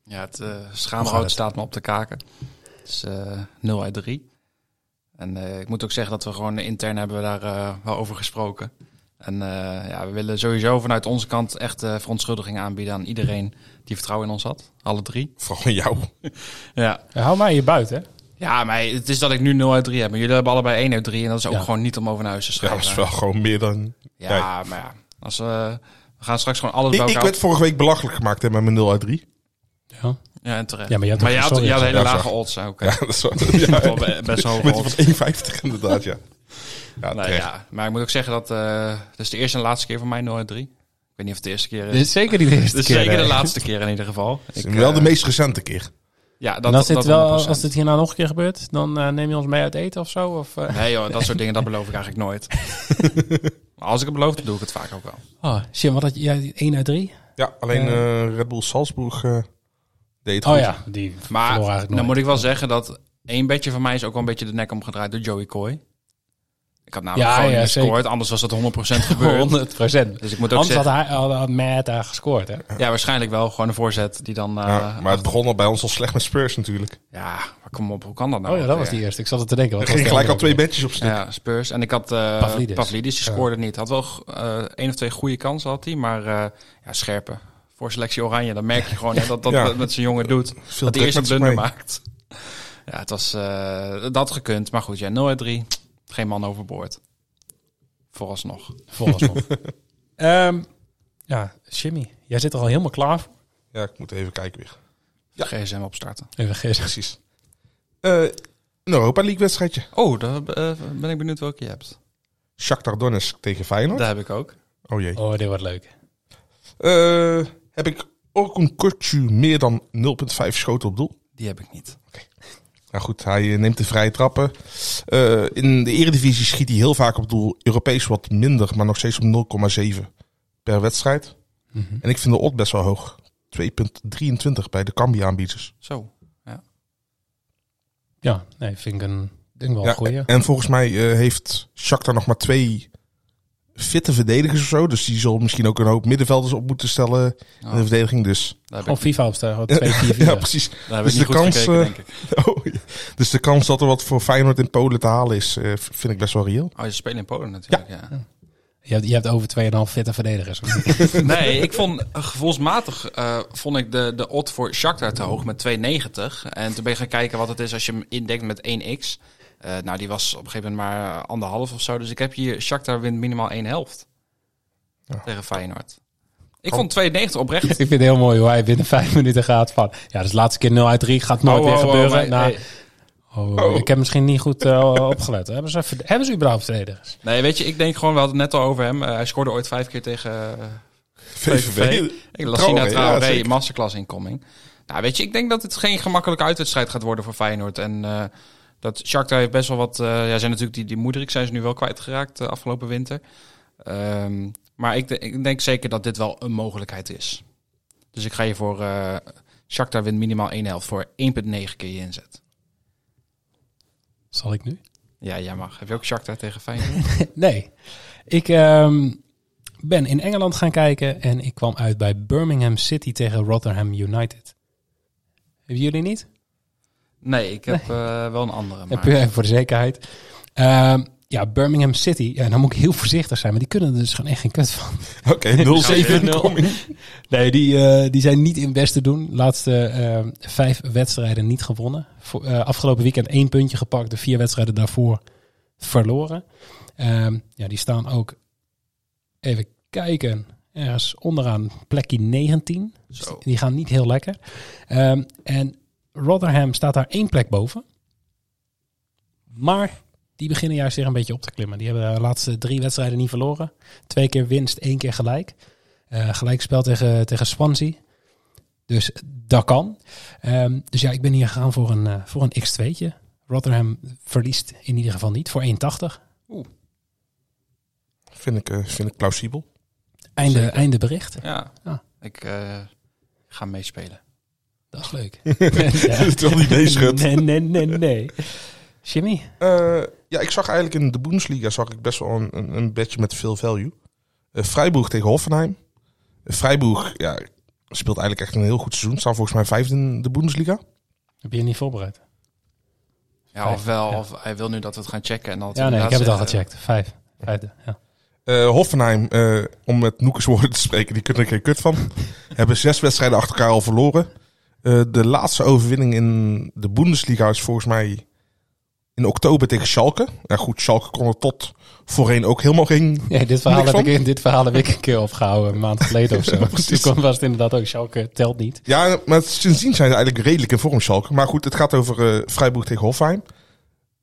S6: Ja, het eh
S1: gaat
S6: schaamrood
S1: het?
S6: staat me op de kaken. Het is eh 0 uit 3. En eh, ik moet ook zeggen dat we gewoon intern hebben we daar eh, wel over gesproken. En eh, ja, we willen sowieso vanuit onze kant echt eh verontschuldigingen aanbieden aan iedereen die vertrouwen in ons had. Alle drie.
S8: Vooral jou.
S6: Ja,
S1: Ja, hou mij hier buiten. hè.
S6: ja maar het is dat ik nu 0 uit 3 heb. Maar jullie hebben allebei 1 uit 3. En dat is ook
S1: Ja.
S6: gewoon niet om over naar huis te
S8: Ja,
S6: schrijven.
S8: dat is wel gewoon meer dan.
S6: Ja, maar ja. Als, we we gaan straks gewoon alles bij
S8: Ik, ik
S6: elkaar...
S8: werd vorige week belachelijk gemaakt hè, met mijn 0 uit 3.
S1: Ja.
S6: Ja, en terecht.
S1: Ja, maar je had ook
S6: had,
S1: sorry
S6: je had
S1: gezegd.
S6: hele
S8: Ja,
S6: lage
S8: sorry.
S6: odds. hè, Oké.
S8: Ja, dat is wel, ja,
S6: Wel be- best wel
S8: Met
S6: hoog.
S8: die van 1,50 inderdaad, ja. Ja,
S6: Nou
S8: terecht.
S6: ja, maar ik moet ook zeggen dat eh dit is de eerste en laatste keer voor mij 0 uit 3. Ik weet niet of het de eerste keer is.
S1: Dit is zeker niet de eerste
S6: Dit is
S1: keer. eh.
S6: zeker de
S1: hè.
S6: laatste keer in ieder geval. Ik,
S8: Het is wel
S6: eh,
S8: de meest recente keer.
S6: Ja, dat,
S1: En als
S6: dat
S1: dit, wel,
S6: 100%.
S1: als dit hier nou nog een keer gebeurt, dan eh, neem je ons mee uit eten of zo? Of, eh?
S6: Nee joh, dat soort dingen, dat beloof ik eigenlijk nooit. maar als ik het beloof, dan doe ik het vaak ook wel.
S1: Oh, shit, wat had jij? 1 uit 3?
S8: Ja, alleen eh, Red Bull Salzburg eh, deed het
S1: Oh
S8: goed.
S1: ja, die
S6: Maar
S1: verloor
S6: dan
S1: eigenlijk nooit.
S6: moet ik wel zeggen dat één bedje van mij is ook wel een beetje de nek omgedraaid door Joey Coy. Ik had namelijk
S1: Ja,
S6: gewoon
S1: ja,
S6: niet
S1: zeker.
S6: gescoord, anders was dat 100% gebeurd.
S1: 100 procent.
S6: Dus ik moet ook
S1: Anders had
S6: zeggen,
S1: hij al had Matt daar gescoord, hè?
S6: ja, waarschijnlijk wel. Gewoon een voorzet die dan... eh,
S8: Ja, maar het begon al bij ons al slecht met Spurs natuurlijk.
S6: Ja, maar kom op, hoe kan dat nou?
S1: Oh ja, dat was die
S6: weer?
S1: eerste. Ik zat het te denken.
S8: Er
S1: wat was
S8: gingen
S1: die
S8: gelijk al
S1: andere
S8: twee
S1: ook
S8: bandjes op stuk.
S6: Ja, Spurs. En ik had eh
S1: Pavlidis.
S6: Pavlidis. die scoorde niet. Had wel eh, één of twee goede kansen, had hij. Maar eh, ja, scherpe. Voor selectie Oranje, dan merk je gewoon hè, dat dat
S8: Ja.
S6: met zijn jongen doet.
S8: Veel
S6: Dat hij
S8: druk
S6: eerst een
S8: met zich
S6: blunder
S8: mee.
S6: maakt. Ja, het was eh, dat gekund. Maar goed, ja, 0 uit 3. Geen man overboord. Vooralsnog.
S1: weer? Volgens mij. Ehm, ja, Jimmy, jij zit er al helemaal klaar voor.
S8: Ja, ik moet even kijken weer.
S6: Ja. GSM opstarten.
S1: Even gisteren.
S8: Precies. Eh, een Europa League wedstrijdje.
S6: Oh, daar eh, ben ik benieuwd welke je hebt.
S8: Shakhtar Donetsk tegen Feyenoord.
S6: Daar heb ik ook.
S8: Oh jee.
S1: Oh, dit wordt leuk.
S8: Eh, heb ik Orkun Kortju meer dan 0,5 schoten op doel?
S6: Die heb ik niet.
S8: Nou goed, hij eh, neemt de vrije trappen. Eh, in de eredivisie schiet hij heel vaak op doel. Europees wat minder, maar nog steeds op 0,7 per wedstrijd. En ik vind de odd best wel hoog. 2,23 bij de Cambia aanbieders.
S6: Zo.
S1: Ja, nee, vind ik een denk wel
S8: Ja,
S1: een goeie.
S8: En volgens mij eh, heeft Shakhtar nog maar twee fitte verdedigers of zo. Dus die zal misschien ook een hoop middenvelders op moeten stellen in de verdediging. Dus,
S6: Daar heb
S1: Gewoon
S6: ik,
S1: FIFA opstellen, gewoon 2 4
S8: ja, precies.
S6: daar heb
S8: dus
S6: ik niet
S8: de
S6: goed
S8: kans,
S6: gekeken,
S8: eh,
S6: denk ik.
S8: Oh, ja. dus de kans dat er wat voor Feyenoord in Polen te halen is, eh, v- vind ik best wel reëel.
S6: Oh, ze spelen in Polen natuurlijk, ja.
S1: Je hebt, je hebt over 2,5 fitte verdedigers.
S6: Nee, ik vond eh, gevoelsmatig eh, vond ik de, de odd voor Shakhtar te hoog met 2,90. En toen ben ik gaan kijken wat het is als je hem indekt met 1x. Eh, nou, die was op een gegeven moment maar eh, anderhalf of zo. Dus ik heb hier Shakhtar wint minimaal één helft tegen Feyenoord. Ik
S8: Oh.
S6: vond 2,90 oprecht.
S1: ik vind het heel mooi hoe hij binnen 5 minuten gaat van... Ja, dus de laatste keer 0 uit 3 gaat nooit
S6: Oh,
S1: weer
S6: oh, oh,
S1: gebeuren.
S6: maar-
S1: Nou,
S6: hey.
S1: oh, Ik heb misschien niet goed eh, opgelet. Hebben ze, verd- hebben ze überhaupt verdedigers?
S6: Nee, weet je, ik denk gewoon, we hadden het net al over hem. Eh, hij scoorde ooit vijf keer tegen eh, VVV. Ik las
S8: Traoré,
S6: Sina Traoré,
S8: ja, zeker.
S6: masterclass inkoming. Nou, weet je, ik denk dat het geen gemakkelijke uitwedstrijd gaat worden voor Feyenoord. En eh, dat Shakhtar heeft best wel wat... eh, ja, zijn natuurlijk die, die Moederik zijn ze nu wel kwijtgeraakt de afgelopen winter. Ehm, maar ik, de- ik denk zeker dat dit wel een mogelijkheid is. Dus ik ga je voor... eh Shakhtar wint minimaal één helft voor 1,9 keer je inzet.
S1: Zal ik nu?
S6: Ja, jij mag. Heb je ook Shakhtar tegen Feyenoord?
S1: Nee. Ik ehm, ben in Engeland gaan kijken en ik kwam uit bij Birmingham City tegen Rotherham United. Hebben jullie niet?
S6: Nee, ik heb eh, wel een andere.
S1: En
S6: Maar...
S1: puur even voor de zekerheid. Ehm, ja, Birmingham City. Ja, dan moet ik heel voorzichtig zijn, maar die kunnen er dus gewoon echt geen kut van.
S8: Oké, 0-7
S1: 0-7.
S8: inkoming.
S1: Nee, die, eh, die zijn niet in best te doen. Laatste ehm, vijf wedstrijden niet gewonnen. Voor, eh, afgelopen weekend één puntje gepakt. De vier wedstrijden daarvoor verloren. Ehm, ja, die staan ook, even kijken, ergens onderaan plekje 19.
S6: Zo.
S1: Dus Die gaan niet heel lekker. Ehm, en Rotherham staat daar één plek boven. Maar die beginnen juist weer een beetje op te klimmen. Die hebben de laatste drie wedstrijden niet verloren. Twee keer winst, één keer gelijk. Eh gelijkspel tegen, tegen Swansea. Dus dat kan. Ehm, dus ja, ik ben hier gegaan voor een, eh, voor een x2'tje. Rotherham verliest in ieder geval niet voor 1,80.
S8: Vind ik, eh, vind ik plausibel.
S1: Einde, einde bericht.
S6: Ja,
S1: Ja.
S6: ik eh, ga meespelen.
S1: Dat is leuk.
S8: Terwijl die deze schudt.
S1: Nee, nee, nee, nee. Jimmy?
S8: Eh, ja, ik zag eigenlijk in de Bundesliga zag ik best wel een, een, een bedje met veel value. Eh Freiburg tegen Hoffenheim. Eh, Freiburg ja, speelt eigenlijk echt een heel goed seizoen. Staan volgens mij vijfde in de Bundesliga.
S1: Heb je je niet voorbereid?
S6: Ja,
S1: Vijf,
S6: ofwel,
S1: ja.
S6: of hij wil nu dat we het gaan checken. En dat
S1: Ja, nee, ik heb het al
S6: inderdaad eh, zeggen-
S1: gecheckt. Vijf. Vijfde, eh, ja.
S8: Eh, Hoffenheim, eh, om met Noekes woorden te spreken, die kunnen er geen kut van. hebben zes wedstrijden achter elkaar al verloren. Eh, de laatste overwinning in de Bundesliga is volgens mij in oktober tegen Schalke. Ja goed, Schalke kon er tot voorheen ook helemaal geen
S1: Nee, dit, verhaal
S8: Niks
S1: heb
S8: van?
S1: ik, dit verhaal heb ik een keer opgehouden, een maand geleden of zo.
S8: Ja,
S1: Toen
S8: precies.
S1: kwam- was het inderdaad ook, Schalke telt niet.
S8: Ja, maar sindsdien zijn ze eigenlijk redelijk in vorm, Schalke. Maar goed, het gaat over eh, Freiburg tegen Hofheim.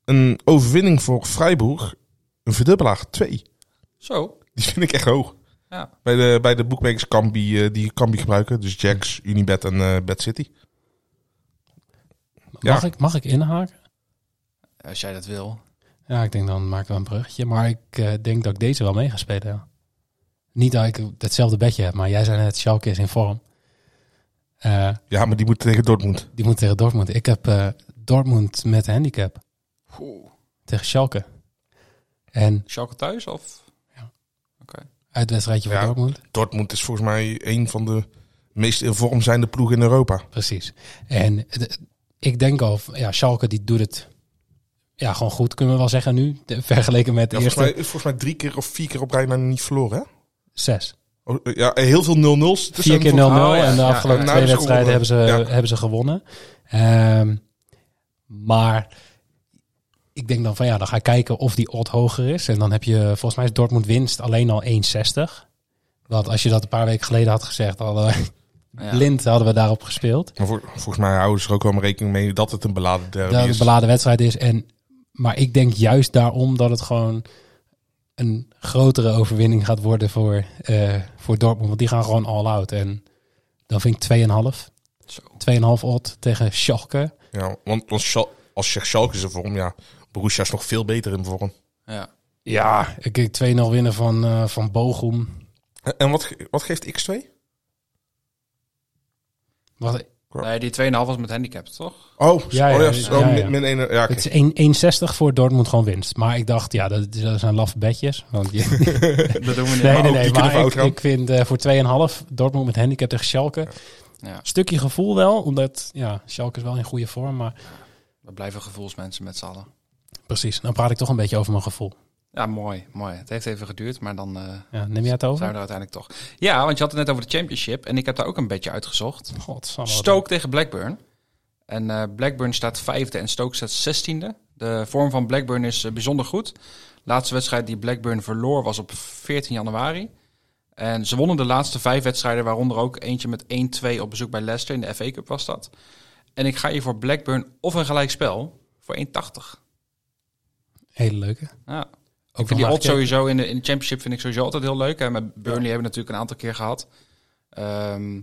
S8: Een overwinning voor Freiburg, een verdubbelaar 2.
S6: Zo.
S8: Die vind ik echt hoog.
S6: Ja.
S8: Bij de, bij de boekmakers Kambi, eh, die Kambi gebruiken. Dus Jacks, Unibet en eh Bad City.
S1: Mag,
S8: Ja.
S1: ik, mag ik inhaken?
S6: eh, Als jij dat wil.
S1: Ja, ik denk dan maak ik wel een bruggetje. Maar ik eh, denk dat ik deze wel mee ga spelen, ja. Niet dat ik hetzelfde bedje heb, maar jij zei net, Schalke is in vorm. Eh,
S8: Ja, maar die moeten tegen Dortmund.
S1: die moet tegen Dortmund. Ik heb eh, Dortmund met handicap tegen Schalke. En
S6: Schalke thuis of?
S1: uitwedstrijdje voor
S8: Ja.
S1: Dortmund.
S8: Dortmund is volgens mij een van de meest in vorm zijnde ploegen in Europa.
S1: Precies. En de- ik denk al, ja, Schalke die doet het ja, gewoon goed, kunnen we wel zeggen nu. De- Vergeleken met de
S8: Ja, volgens,
S1: eerste
S8: mij, volgens mij drie keer of vier keer op rij maar niet verloren, hè?
S1: zes.
S8: Oh, eh, Ja, heel veel 0-0's.
S1: Vier keer 0-0
S6: oh, ja,
S1: en de
S6: ja,
S1: afgelopen
S8: ja.
S1: twee
S8: Nou, dat is
S1: wedstrijden hebben ze,
S8: gewonnen. Ja.
S1: hebben ze gewonnen. Ehm, maar ik denk dan van ja, dan ga ik kijken of die odd hoger is. En dan heb je, volgens mij is Dortmund winst alleen al 1,60. Want als je dat een paar weken geleden had gezegd, hadden we,
S6: Ja.
S1: blind hadden we daarop gespeeld.
S8: Maar vol- volgens mij houden ze er ook wel rekening mee dat het een beladen derby
S1: dat het
S8: Eh, is.
S1: een beladen wedstrijd is. En, maar ik denk juist daarom dat het gewoon een grotere overwinning gaat worden voor, eh, voor Dortmund. Want die gaan gewoon all out. En dan vind ik 2,5.
S6: Zo.
S1: 2,5 odd tegen Schalke.
S8: Ja, want als, Schal- als je zegt Schalke is in vorm, ja, Borussia is nog veel beter in vorm.
S6: Ja.
S1: Ja. Ik kijk 2-0 winnen van, eh van Bochum.
S8: En- En wat, ge- wat geeft X2?
S1: Wat,
S6: Nee, die 2,5 was met handicap, toch?
S8: Oh,
S1: Ja, ja,
S8: oh ja,
S1: ja,
S8: oh,
S1: ja,
S8: min-
S1: ja.
S8: min één, ja, oké.
S1: Het is 1,61 voor Dortmund gewoon winst. Maar ik dacht, ja, dat, dat zijn laffe bedjes. Want je-
S6: Dat doen we niet.
S1: nee, nee,
S8: ook die
S1: nee.
S8: kunnen
S1: Maar
S8: fout
S1: ik,
S8: gaan.
S1: ik vind eh, voor 2,5 Dortmund met handicap tegen Schalke.
S6: Ja.
S1: Stukje gevoel wel, omdat ja, Schalke is wel in goede vorm. Maar
S6: We blijven gevoelsmensen met z'n allen.
S1: precies, dan praat ik toch een beetje over mijn gevoel.
S6: Ja, mooi, mooi. Het heeft even geduurd, maar dan eh,
S1: Ja, neem jij het
S6: zijn
S1: over?
S6: we er uiteindelijk toch. Ja, want je had het net over de championship en ik heb daar ook een beetje uitgezocht.
S1: Godsamme, wat
S6: Stoke tegen Blackburn. En eh, Blackburn staat vijfde en Stoke staat zestiende. De vorm van Blackburn is eh, bijzonder goed. Laatste wedstrijd die Blackburn verloor was op 14 januari. En ze wonnen de laatste vijf wedstrijden, waaronder ook eentje met 1-2 op bezoek bij Leicester in de FA Cup was dat. En ik ga hier voor Blackburn of een gelijkspel voor 1,80.
S1: Hele leuke.
S6: Ja.
S1: Ook
S6: Ik vind die
S1: wel
S6: odd sowieso in de, in de championship vind ik sowieso altijd heel leuk. En met Burnley hebben we natuurlijk een aantal keer gehad. Ehm,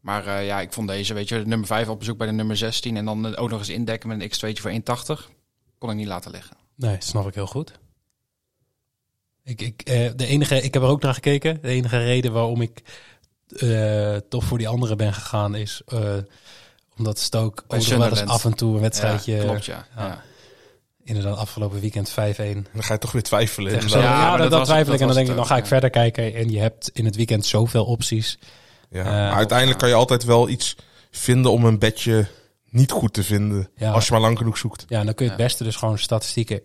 S6: maar eh, ja, ik vond deze, weet je, de nummer 5 op bezoek bij de nummer 16. En dan eh, ook nog eens indekken met een x2'tje voor 1,80. Kon ik niet laten liggen.
S1: Nee, snap ik heel goed. Ik, ik, eh, de enige, ik heb er ook naar gekeken. De enige reden waarom ik eh, toch voor die andere ben gegaan is eh, omdat Stoke
S6: Bij
S1: ook nog wel eens
S6: Sunderland.
S1: af en toe een wedstrijdje...
S6: ja, klopt, ja. ja.
S1: eh, ja. Inderdaad, afgelopen weekend 5-1. tegen
S8: Dan ga je toch weer twijfelen.
S1: Zwolle.
S8: inderdaad.
S1: Ja,
S6: maar
S1: dat,
S6: dat
S1: dat
S6: was-
S1: twijfel ik.
S6: dat
S1: En dan
S6: was
S1: denk ik, dan
S6: het ook,
S1: ga ik
S6: ja.
S1: verder kijken. En je hebt in het weekend zoveel opties.
S8: Ja.
S1: Eh,
S8: maar uiteindelijk kan je altijd wel iets vinden om een bedje niet goed te vinden.
S1: Ja.
S8: Als je maar lang genoeg zoekt.
S1: Ja, en dan kun je het beste dus gewoon statistieken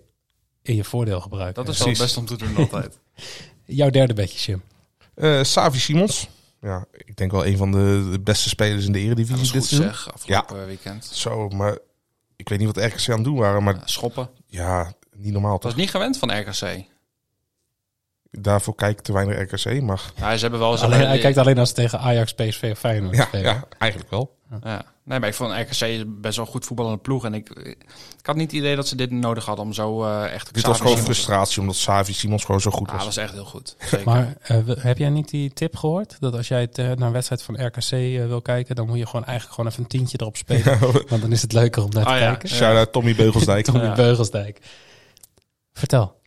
S1: in je voordeel gebruiken.
S6: Dat is wel
S8: precies.
S6: best om te doen altijd.
S1: Jouw derde bedje, Jim.
S8: Eh, Savi Simons. Ja, ik denk wel een van de, de beste spelers in de eredivisie
S6: Dat is
S8: dit
S6: goed
S8: seizoen.
S6: zeg, afgelopen weekend.
S8: Zo, maar ik weet niet wat RKC aan het doen waren. Maar
S6: Ja, schoppen.
S8: ja, niet normaal
S6: Dat
S8: toch?
S6: was niet gewend van RKC.
S8: Daarvoor kijk ik te weinig RKC, maar
S6: Ja, ze hebben wel eens...
S1: Alleen, hij kijkt alleen als ze tegen Ajax, PSV of Feyenoord
S8: ja,
S1: spelen.
S8: ja, eigenlijk wel.
S6: Ja. Nee, maar ik vond RKC best wel een goed voetballende ploeg. En ik, ik had niet het idee dat ze dit nodig hadden om zo eh echt...
S8: Dit was gewoon
S6: Xavi-
S8: frustratie omdat Savi Simons gewoon zo goed
S6: Ah, dat
S8: was.
S6: was echt heel goed. Zeker.
S1: Maar eh, we- heb jij niet die tip gehoord? Dat als jij het, eh, naar een wedstrijd van RKC eh, wil kijken, dan moet je gewoon eigenlijk gewoon even een tientje erop spelen. Want dan is het leuker om naar te
S8: Oh
S6: Ah, ja.
S1: kijken.
S8: Shout-out Tommy Beugelsdijk.
S1: Tommy
S6: Ja.
S1: Beugelsdijk. Vertel.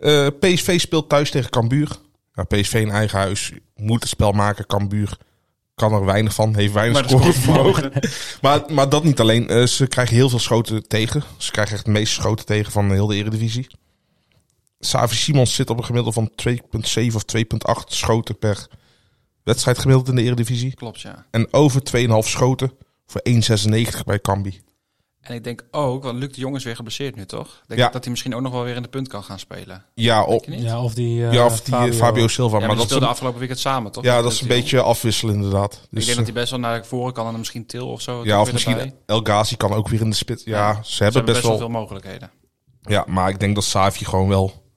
S8: Eh, PSV speelt thuis tegen Cambuur. Ja, PSV in eigen huis moet het spel maken. Cambuur kan er weinig van, heeft weinig
S6: Maar dat is
S8: scorevermogen. maar, maar dat niet alleen. Eh, ze krijgen heel veel schoten tegen. Ze krijgen echt de meeste schoten tegen van heel de Eredivisie. Savi Simons zit op een gemiddelde van 2,7 of 2,8 schoten per wedstrijd gemiddeld in de Eredivisie.
S6: Klopt, ja.
S8: En over 2,5 schoten voor 1,96 bij Cambi.
S6: En ik denk ook, want Luc de Jong is weer geblesseerd nu, toch? Ik Denk
S8: Ja.
S6: dat hij misschien ook nog wel weer in de punt kan gaan spelen.
S8: Ja, op,
S6: Niet?
S1: Ja, of die, eh,
S8: ja of die eh, Fabio, Silva.
S6: Ja, maar
S8: maar
S6: die
S8: dat is
S6: speelde
S8: een,
S6: afgelopen weekend samen, toch?
S8: ja,
S6: Met
S8: dat is een
S6: Luc de Jong.
S8: beetje afwisselen inderdaad. Dus,
S6: ik denk dat hij best wel naar voren kan en dan misschien Til of zo.
S8: Ja,
S6: toch
S8: of
S6: weer erbij.
S8: misschien El Ghazi kan ook weer in de spits. Ja,
S6: Ja,
S8: ze hebben,
S6: Ze hebben
S8: best, wel.
S6: veel mogelijkheden.
S8: Ja, maar ik denk dat Savi gewoon wel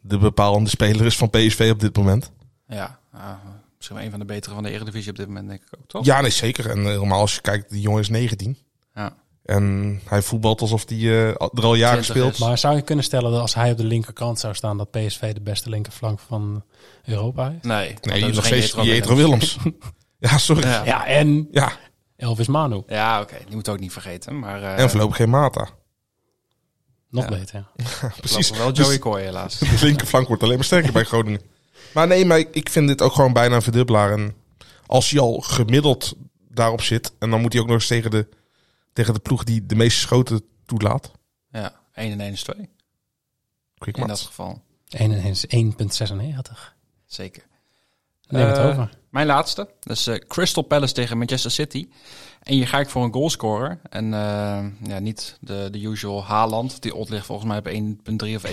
S8: de bepalende speler is van PSV op dit moment.
S6: Ja, ah, misschien wel een van de betere van de Eredivisie op dit moment, denk ik ook, toch?
S8: Ja, nee, zeker. En eh, helemaal als je kijkt, die jongen is 19.
S6: Ja.
S8: En hij voetbalt alsof hij eh, er al jaren
S6: 20
S8: speelt.
S6: is.
S1: Maar zou je kunnen stellen dat als hij op de linkerkant zou staan, dat PSV de beste linkerflank van Europa is?
S6: Nee, want dat
S8: Nee, die
S6: is
S8: nog
S6: geen
S8: steeds
S6: Jetro
S8: Jetro
S6: Willems.
S8: Willems. ja, sorry. Ja,
S6: Ja,
S1: Ja, en
S8: ja.
S1: Elvis Manu.
S6: ja oké, die moet ook niet vergeten. Maar eh,
S8: en voorlopig geen Mata.
S1: Nog
S6: Ja.
S1: beter. ja.
S8: Precies. Dus-
S6: wel Joey Coy helaas.
S8: De linkerflank wordt alleen maar sterker bij Groningen. Maar nee, maar ik- ik vind dit ook gewoon bijna een verdubbelaar. En als hij al gemiddeld daarop zit, en dan moet hij ook nog eens tegen de, tegen de ploeg die de meeste schoten toelaat.
S6: ja, 1 en 1 is 2
S8: Quick
S6: in dat
S8: maths.
S6: geval.
S1: 1 en 1 is 1,96. Neem
S6: Zeker.
S1: het
S6: Eh,
S1: over.
S6: Mijn laatste. Dat is eh, Crystal Palace tegen Manchester City. En hier ga ik voor een goalscorer. En eh, ja, niet de, de usual Haaland. Die odd ligt volgens mij op 1.3 of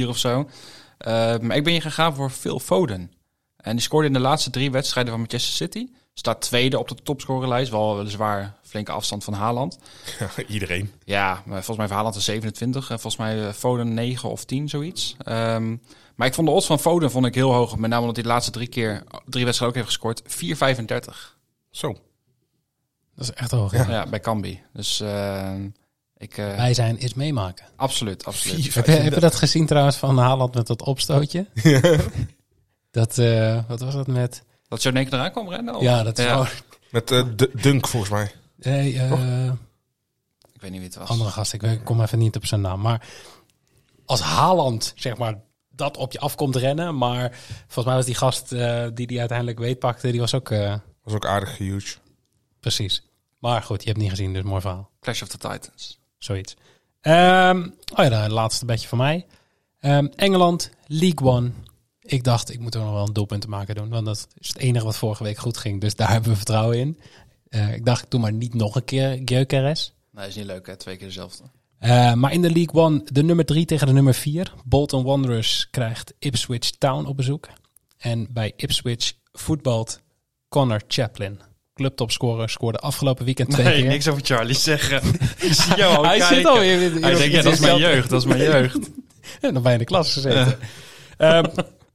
S6: 1.4 of zo. Eh, maar ik ben hier gegaan voor Phil Foden. En die scoorde in de laatste drie wedstrijden van Manchester City. Staat tweede op de topscorerlijst. Wel weliswaar flinke afstand van Haaland.
S8: Iedereen.
S6: Ja, maar volgens mij heeft Haaland een 27 en volgens mij eh, Foden 9 of 10, zoiets. Ehm, maar ik vond de odds van Foden vond ik heel hoog. Met name omdat hij de laatste drie keer drie wedstrijden ook heeft gescoord. 4,35
S8: Zo.
S1: Dat is echt hoog.
S6: ja. bij Cambi. Dus ehm, ik, eh,
S1: Wij zijn is meemaken.
S6: absoluut, absoluut.
S8: Vier,
S1: Heb je, heb je
S8: vijf,
S1: dat gezien trouwens van Haaland met dat opstootje? Dat, eh, wat was dat met?
S6: Dat zo in één keer eraan kwam rennen? of-
S1: Ja, dat is gewoon...
S8: Met eh, D- Dunk volgens mij.
S1: Nee, eh,
S6: Ik weet niet wie het was.
S1: andere gast, ik weet- ik kom even niet op zijn naam. Maar als Haaland, zeg maar, dat op je af komt rennen. Maar volgens mij was die gast eh, die die uiteindelijk weet pakte, die was ook... eh,
S8: Was ook aardig huge.
S1: precies. Maar goed, je hebt niet gezien, dus mooi verhaal.
S6: Clash of the Titans.
S1: Zoiets. Ehm oh ja, nou, het laatste bedje van mij. Ehm, Engeland, League One. Ik dacht, ik moet er nog wel een doelpunt te maken doen. Want dat is het enige wat vorige week goed ging. Dus daar hebben we vertrouwen in. Eh, ik dacht, ik doe maar niet nog een keer Gyökeres.
S6: Nee, is niet leuk hè, twee keer dezelfde.
S1: Eh, maar in de League One de nummer 3 tegen de nummer 4. Bolton Wanderers krijgt Ipswich Town op bezoek. En bij Ipswich voetbalt Connor Chaplin. Clubtopscorer scoorde afgelopen weekend twee
S6: Nee,
S1: keer.
S6: niks over Charlie zeggen. Ik zie jou al
S1: Hij
S6: kijken.
S1: zit al in, in- in-
S6: Hij denkt, ja, dat is mijn jeugd, dat is mijn jeugd.
S1: En dan ben je in de klas gezeten. Ehm,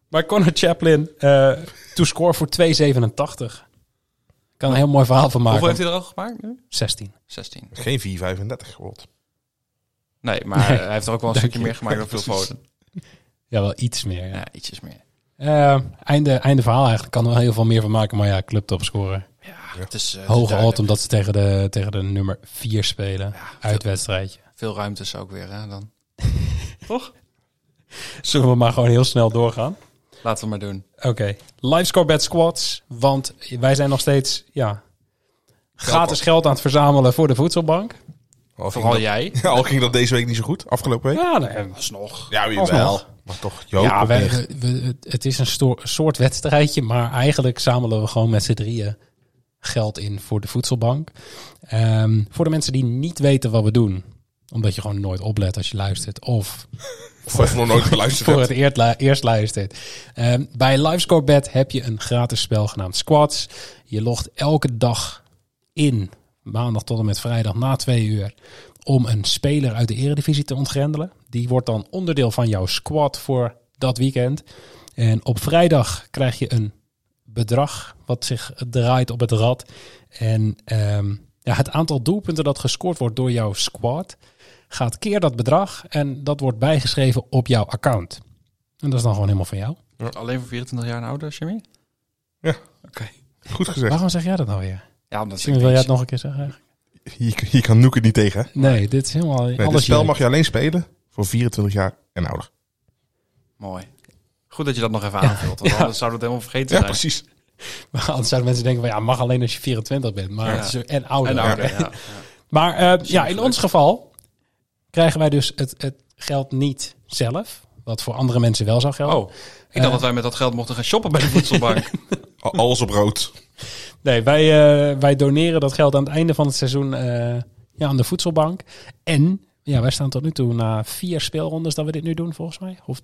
S1: maar Connor Chaplin, eh to score voor 2,87. Kan een heel mooi verhaal van maken.
S6: Hoeveel heeft hij er al gemaakt nu?
S1: 16.
S6: 16.
S8: Geen 4,35 geworden.
S6: Nee, maar
S1: Nee.
S6: hij heeft er ook wel een
S1: Dank
S6: stukje
S1: je.
S6: meer gemaakt dan veel foto.
S1: Ja, wel iets meer. Ja.
S6: Ja, ietsjes meer.
S1: Eh, einde, einde verhaal eigenlijk. Kan er wel heel veel meer van maken. Maar ja, clubtopscorer.
S6: Het is, eh, het is
S1: Hoge alt
S6: duidelijk.
S1: omdat ze tegen de, tegen de nummer 4 spelen. Uitwedstrijdje.
S6: Veel ruimtes ook weer, hè, dan.
S1: Zullen we maar gewoon heel snel doorgaan?
S6: Laten we maar doen.
S1: Oké. Livescore bet squads. Want wij zijn nog steeds ja, gratis geld aan het verzamelen voor de voedselbank.
S8: Al ging,
S6: Vooral
S8: dat,
S6: jij.
S8: ja, al ging dat deze week niet zo goed, afgelopen week.
S1: Ja, nou,
S6: Alsnog.
S8: Ja,
S1: alsnog.
S8: Maar toch, je hoopt
S1: ja
S8: op
S1: we,
S8: meer.
S1: we- we- het is een stoor- soort wedstrijdje. Maar eigenlijk zamelen we gewoon met z'n drieën geld in voor de voedselbank. Ehm, voor de mensen die niet weten wat we doen. Omdat je gewoon nooit oplet als je luistert. Of
S8: Of even nog nooit geluisterd
S1: voor
S8: hebt.
S1: het eerst, lu- eerst luistert. Ehm, bij LiveScoreBet heb je een gratis spel genaamd Squads. Je logt elke dag in, maandag tot en met vrijdag na twee uur, om een speler uit de eredivisie te ontgrendelen. Die wordt dan onderdeel van jouw squad voor dat weekend. En op vrijdag krijg je een bedrag wat zich draait op het rad. En ehm, ja, het aantal doelpunten dat gescoord wordt door jouw squad gaat keer dat bedrag en dat wordt bijgeschreven op jouw account. En dat is dan gewoon helemaal van jou.
S6: Alleen voor 24 jaar en ouder, Jimmy?
S8: Goed gezegd.
S1: Waarom zeg jij dat nou weer?
S6: Ja, omdat
S1: Misschien wil jij het nog een keer zeggen. eigenlijk?
S8: Hier, hier kan Noeke niet tegen. hè?
S1: Nee, dit is helemaal
S8: Nee, dit
S1: alles
S8: spel
S1: hier.
S8: mag je alleen spelen voor 24 jaar en ouder.
S6: Mooi. Goed dat je dat nog even aanvult, want anders zouden we het helemaal vergeten
S8: Ja,
S6: zijn.
S8: precies.
S1: Anders zouden mensen denken van ja, mag alleen als je 24 bent. Maar
S6: Ja.
S1: het is- en ouder.
S6: En ouder, ja.
S1: Maar eh, ja, in
S6: geluk.
S1: ons geval krijgen wij dus het, het geld niet zelf. Wat voor andere mensen wel zou gelden.
S6: Oh, ik
S1: Eh.
S6: dacht dat wij met dat geld mochten gaan shoppen bij de voedselbank.
S8: Al- Alles op rood.
S1: Nee, wij, eh, wij doneren dat geld aan het einde van het seizoen eh, ja, aan de voedselbank. En ja, wij staan tot nu toe na vier speelrondes dat we dit nu doen, volgens mij. Of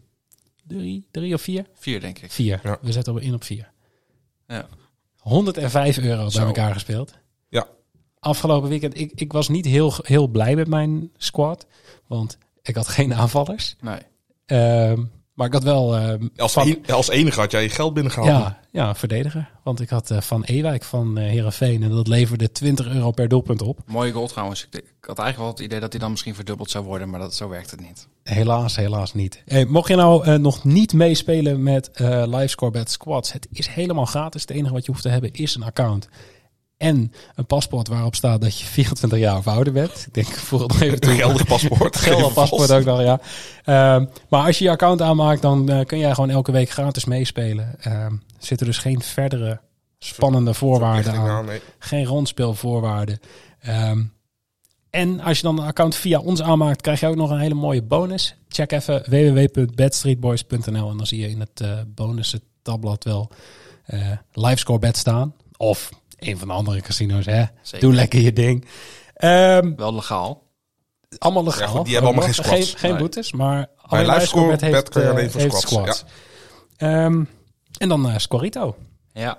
S1: drie, drie of vier?
S6: Vier, denk ik.
S1: Vier.
S8: Ja.
S1: We zetten in op vier.
S6: Ja.
S1: 105 euro
S8: Zo.
S1: bij elkaar gespeeld.
S8: Ja.
S1: Afgelopen weekend, ik, ik was niet heel, heel blij met mijn squad. Want ik had geen aanvallers.
S6: Nee.
S1: Ehm, maar ik had wel... ehm,
S8: Als,
S1: Van-
S8: een- als enige had jij je geld binnengehaald.
S1: ja, ja, een verdediger. Want ik had eh, Van Ewijk van eh Heerenveen. En dat leverde 20 euro per doelpunt op.
S6: Mooie goal trouwens. Ik, ik had eigenlijk wel het idee dat hij dan misschien verdubbeld zou worden, maar dat, zo werkt het niet.
S1: Helaas, helaas niet. Hey, mocht je nou eh, nog niet meespelen met eh LiveScoreBet Squads, het is helemaal gratis. Het enige wat je hoeft te hebben is een account en een paspoort waarop staat dat je 24 jaar of ouder bent. Ik denk voor het nog even
S8: Een geldig paspoort.
S1: Gelder paspoort ook nog, ja. Ehm, maar als je je account aanmaakt, dan eh, kun jij gewoon elke week gratis meespelen. Ehm zit er dus geen verdere spannende voorwaarden aan
S8: Nee.
S1: geen rondspelvoorwaarden. Ehm, en als je dan een account via ons aanmaakt, krijg je ook nog een hele mooie bonus. Check even www.bedstreetboys.nl en dan zie je in het eh bonussen tabblad wel eh Livescore Bet staan. Of een van de andere casino's, hè.
S6: Zeker.
S1: Doe lekker je ding. Ehm,
S6: Wel legaal.
S1: allemaal legaal.
S8: Ja, goed, die hebben allemaal geen squats.
S1: Geen, geen
S6: Nee.
S1: boetes, maar
S8: Bij
S1: alleen
S8: Livescore
S1: Livescore Bet
S8: Bet
S1: heeft,
S8: kun je
S1: eh,
S8: alleen voor
S1: heeft
S8: squats,
S1: squats. Ehm, en dan eh Scorito.
S6: Ja.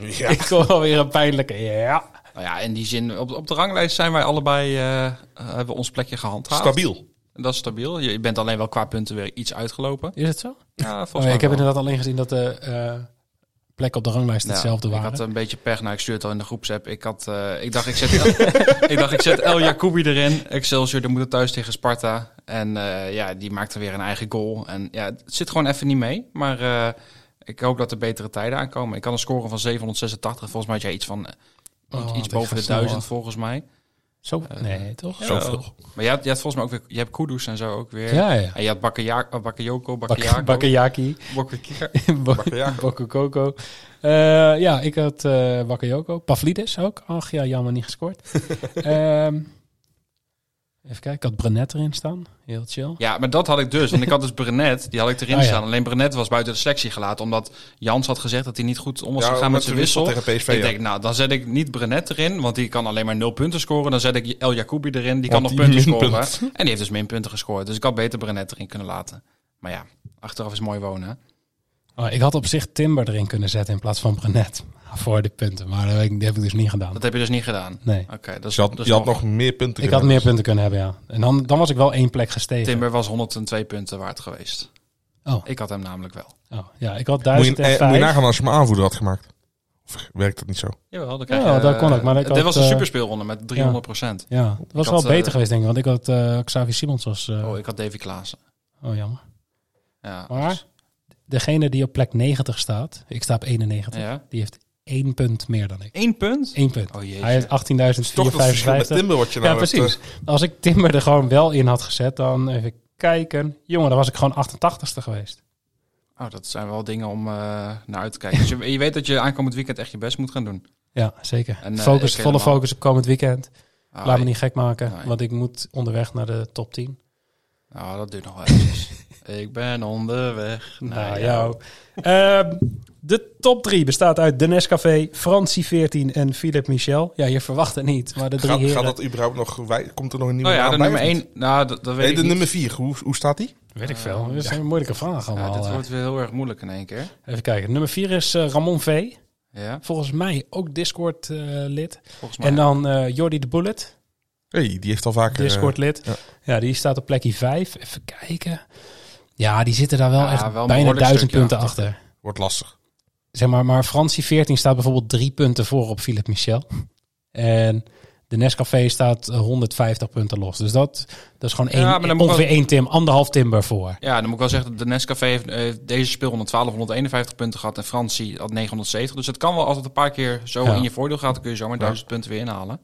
S8: Ja.
S1: Ik hoor alweer een pijnlijke ja.
S6: Nou ja, in die zin, op, op de ranglijst zijn wij allebei, eh, eh, hebben ons plekje gehandhaafd.
S8: Stabiel.
S6: En Dat is stabiel. Je je bent alleen wel qua punten weer iets uitgelopen.
S1: Is het zo?
S6: Ja, volgens
S1: Oh ja,
S6: mij
S1: ik heb
S6: wel.
S1: inderdaad alleen gezien dat de eh, plekken op de ranglijst
S6: Ja,
S1: hetzelfde waren.
S8: eh,
S6: Ik had een beetje pech. Nou, ik stuurde het al in de groepsapp. Ik, had, eh, ik, dacht, ik, zet El, ik dacht, ik zet El Jacoubi erin. Excelsior, die moet het thuis tegen Sparta. En eh, ja, die maakte weer een eigen goal. En ja, het zit gewoon even niet mee. Maar eh, ik hoop dat er betere tijden aankomen. Ik had een score van 786. Volgens mij had jij iets van eh,
S1: Oh,
S6: iets
S1: dat
S6: boven
S1: gaat
S6: de
S1: snel,
S6: 1000,
S1: hoor.
S6: volgens mij.
S1: Zo? Nee, toch?
S8: eh, Zoveel.
S6: Maar je hebt, je hebt volgens mij ook weer... Je hebt Kudus en zo ook weer.
S1: Ja, ja.
S6: En je had Bakaya- eh, Bakayoko,
S1: Bak-
S6: Bakayako.
S1: Bakayaki.
S6: Bakayako.
S1: Bak- Bakayoko. Eh, ja, ik had eh Bakayoko. Pavlidis ook. Ach ja, jammer niet gescoord. Ehm, even kijken, ik had Brenet erin staan. Heel chill.
S6: Ja, maar dat had ik dus. Want ik had dus Brenet, die had ik
S8: Oh,
S6: erin
S1: Ah, ja.
S6: staan. Alleen Brenet was buiten de selectie gelaten. Omdat Jans had gezegd dat hij niet goed om was
S8: Ja,
S6: gegaan met zijn wissel.
S8: tegen PSV,
S6: ik
S8: ja.
S6: denk, nou, dan zet ik niet Brenet erin. Want die kan alleen maar nul punten scoren. Dan zet ik El Jacoubi erin. Die kan
S8: Want
S6: nog
S8: die
S6: punten scoren.
S8: minpunt.
S6: En die heeft dus min punten gescoord. Dus ik had beter Brenet erin kunnen laten. Maar ja, achteraf is mooi wonen. hè.
S1: Oh, ik had op zich Timber erin kunnen zetten in plaats van Brenet. Voor de punten. Maar dat heb ik, dat heb ik dus niet gedaan.
S6: Dat heb je dus niet gedaan.
S1: Nee.
S6: Oké, dat is
S8: Dus je had,
S6: dat is
S8: je had
S6: nog-
S8: nog meer punten
S1: Ik had
S8: kunnen
S1: meer punten kunnen hebben, ja. En dan, dan was ik wel één plek gestegen.
S6: Timber was 102 punten waard geweest.
S1: Oh.
S6: Ik had hem namelijk wel.
S1: Oh, ja, ik had
S8: Moet je, eh,
S1: 1005.
S8: moet je nagaan als je mijn aanvoerder had gemaakt. Of werkt dat niet zo?
S6: Jawel, dan
S1: krijg
S6: krijg
S1: Ja, je, dat kon ook, maar ik
S6: Dit
S1: had,
S6: was een
S1: eh,
S6: superspeelronde met 300 procent.
S1: Ja, dat was
S6: Ik
S1: wel
S6: had,
S1: beter
S6: eh,
S1: geweest, denk ik. Want ik had eh Xavi Simons was... eh,
S6: Oh, Ah, ik had Davy Klaassen.
S1: oh, jammer.
S6: Ja,
S1: Maar degene die op plek 90 staat, ik sta op 91,
S6: Ja.
S1: die heeft één punt meer dan ik.
S6: Eén punt?
S1: Eén punt.
S6: Oh, jeetje.
S1: Hij heeft
S8: Toch dat verschil met
S1: 18.455.
S8: Timber wat je
S1: Ja,
S8: nou
S6: eh,
S8: hebt,
S1: precies. Als ik Timber er gewoon wel in had gezet, dan even kijken. Jongen, dan was ik gewoon 88ste geweest.
S6: Oh, dat zijn wel dingen om eh, naar uit te kijken. Dus je, je weet dat je aankomend weekend echt je best moet gaan doen.
S1: Ja, zeker.
S6: En, eh,
S1: focus,
S6: ik
S1: volle
S6: helemaal.
S1: focus op komend weekend.
S6: Ah,
S1: Laat me niet gek maken,
S6: Nee.
S1: want ik moet onderweg naar de top 10.
S6: Nou, dat duurt nog wel eventjes. ik ben onderweg naar
S1: Nou,
S6: jou. Oh
S1: jou. Ehm, de top 3 bestaat uit de Nescafé, Francie 14 en Philip Michel. Ja, je verwacht het niet, maar de drie
S8: Gaat,
S1: heren...
S8: gaat dat überhaupt nog... wij- Komt er nog een nieuwe
S6: Nou ja,
S8: naam
S6: de
S8: bij,
S6: nummer
S8: of niet?
S6: één. Nou, dat, dat weet
S8: Nee,
S6: ik
S8: de
S6: niet.
S8: nummer 4. Hoe, hoe staat die?
S1: Weet ik veel. Dat zijn moeilijke vragen
S6: Ja,
S1: allemaal.
S6: dit
S1: eh.
S6: wordt weer heel erg moeilijk in één keer.
S1: Even kijken. Nummer 4 is eh, Ramon V.
S6: Ja,
S1: Volgens mij ook Discord-lid.
S6: volgens mij.
S1: en dan eh Jordi de Bullet,
S8: hey, die heeft al vaker... eh,
S1: Discord-lid.
S8: ja.
S1: Ja. die staat op plekje 5. Even kijken. Ja, die zitten daar wel
S6: Ja,
S1: echt
S6: wel een
S1: bijna
S6: behoorlijk
S1: duizend
S6: stukje
S1: punten
S6: achter.
S1: achter.
S8: eh, wordt lastig.
S1: Zeg maar, maar Francie 14 staat bijvoorbeeld drie punten voor op Philip Michel. En de Nescafé staat 150 punten los. Dus dat, dat is gewoon één,
S6: Ja, maar dan moet
S1: ongeveer
S6: wel-
S1: één tim, anderhalf timber voor.
S6: ja, dan moet ik wel zeggen, de Nescafé heeft eh, deze speelronde 1251 punten gehad en Francie had 970. Dus het kan wel, als het een paar keer zo
S1: Ja.
S6: in je voordeel gaat, dan kun je zomaar 1000 punten weer inhalen.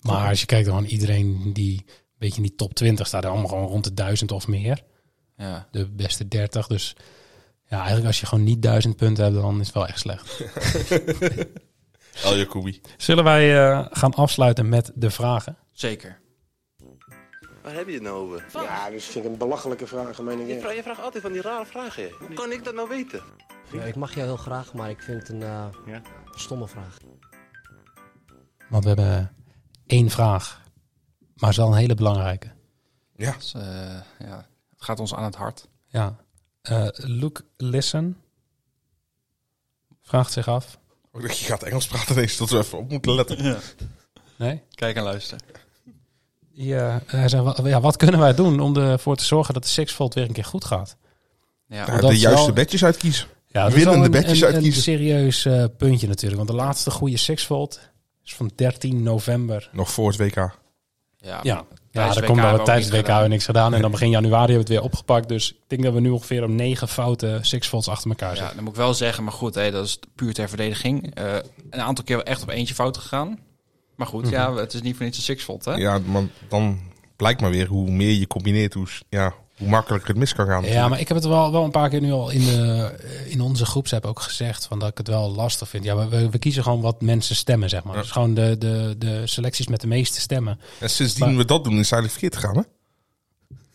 S1: Maar als je kijkt dan iedereen die een beetje in die top 20 staat, allemaal gewoon rond de 1000 of meer.
S6: Ja.
S1: De beste 30. Dus ja, eigenlijk als je gewoon niet 1000 punten hebt, dan is het wel echt slecht.
S8: El Jacobi.
S1: Zullen wij eh, gaan afsluiten met de vragen?
S6: Zeker.
S7: Waar heb je het nou over?
S9: Ja, dat vind ik een belachelijke vraag, meen ik.
S7: Je vraagt, je vraagt altijd van die rare vragen. Hoe kan ik dat nou weten?
S11: ik mag jou heel graag, maar ik vind het een eh,
S2: Ja.
S11: stomme vraag.
S1: Want we hebben één vraag, maar het is wel een hele belangrijke.
S6: Dus, eh, ja. Het gaat ons aan het hart.
S1: Ja. Eh Luke Listen vraagt zich af.
S8: Ik dacht, je gaat Engels praten ineens, dat we even op moeten letten.
S1: Nee?
S6: Kijk en luister.
S1: Ja, hij zegt, wa- ja, wat kunnen wij doen om ervoor te zorgen dat de Sixfold weer een keer goed gaat?
S6: Ja.
S8: Ja,
S1: dat
S8: de
S1: is
S8: juiste
S1: wel-
S8: bedjes uitkiezen.
S1: Ja, dat is wel
S8: Winnende
S1: een-
S8: bedjes
S1: een, een
S8: uitkiezen.
S1: serieus eh, puntje natuurlijk. Want de laatste goede Sixfold is van 13 november.
S8: Nog voor het WK.
S6: Ja,
S1: Ja, ja daar
S6: Tijdens WK
S1: komt wel
S6: hebben we ook
S1: tijdens het
S6: niks
S1: WK
S6: gedaan.
S1: weer niks gedaan. En dan begin januari hebben we het weer opgepakt. Dus ik denk dat we nu ongeveer op negen foute Sixfolds achter elkaar zitten.
S6: Ja, dat moet ik wel zeggen. Maar goed, hè, dat is puur ter verdediging. Eh, een aantal keer echt op eentje fout gegaan. Maar goed, ja, het is niet voor niets een sixfold, hè?
S8: Ja, maar dan blijkt maar weer hoe meer je combineert, hoe, s- ja, hoe makkelijker het mis kan gaan.
S1: Ja, maar ik heb het wel, wel een paar keer nu al in, de, eh, in onze groepsapp ook gezegd. Van dat ik het wel lastig vind. Ja, we- we, we kiezen gewoon wat mensen stemmen, zeg maar.
S8: Ja.
S1: Dus gewoon de, de, de selecties met de meeste stemmen.
S8: En sindsdien
S1: Maar-
S8: we dat doen, is het eigenlijk verkeerd gegaan, hè?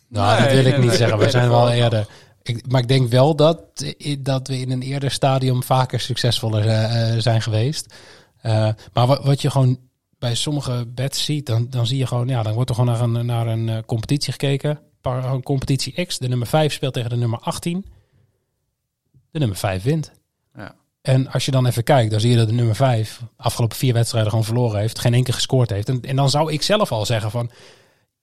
S1: Nou, dat
S6: Nee,
S1: wil ik
S6: nee,
S1: niet
S6: nee,
S1: zeggen.
S6: nee,
S1: We zijn
S6: dat
S1: wel
S6: wel.
S1: eerder. Ik, maar ik denk wel dat, eh, dat we in een eerder stadium vaker succesvoller eh, eh, zijn geweest. Eh, maar wat, wat je gewoon bij sommige bets ziet, dan, dan zie je gewoon, ja, dan wordt er gewoon naar een, naar een eh, competitie gekeken. Par- een competitie X, de nummer 5 speelt tegen de nummer 18. De nummer 5 wint.
S6: Ja.
S1: En als je dan even kijkt, dan zie je dat de nummer 5 afgelopen vier wedstrijden gewoon verloren heeft, geen enkele gescoord heeft. En, en dan zou ik zelf al zeggen van,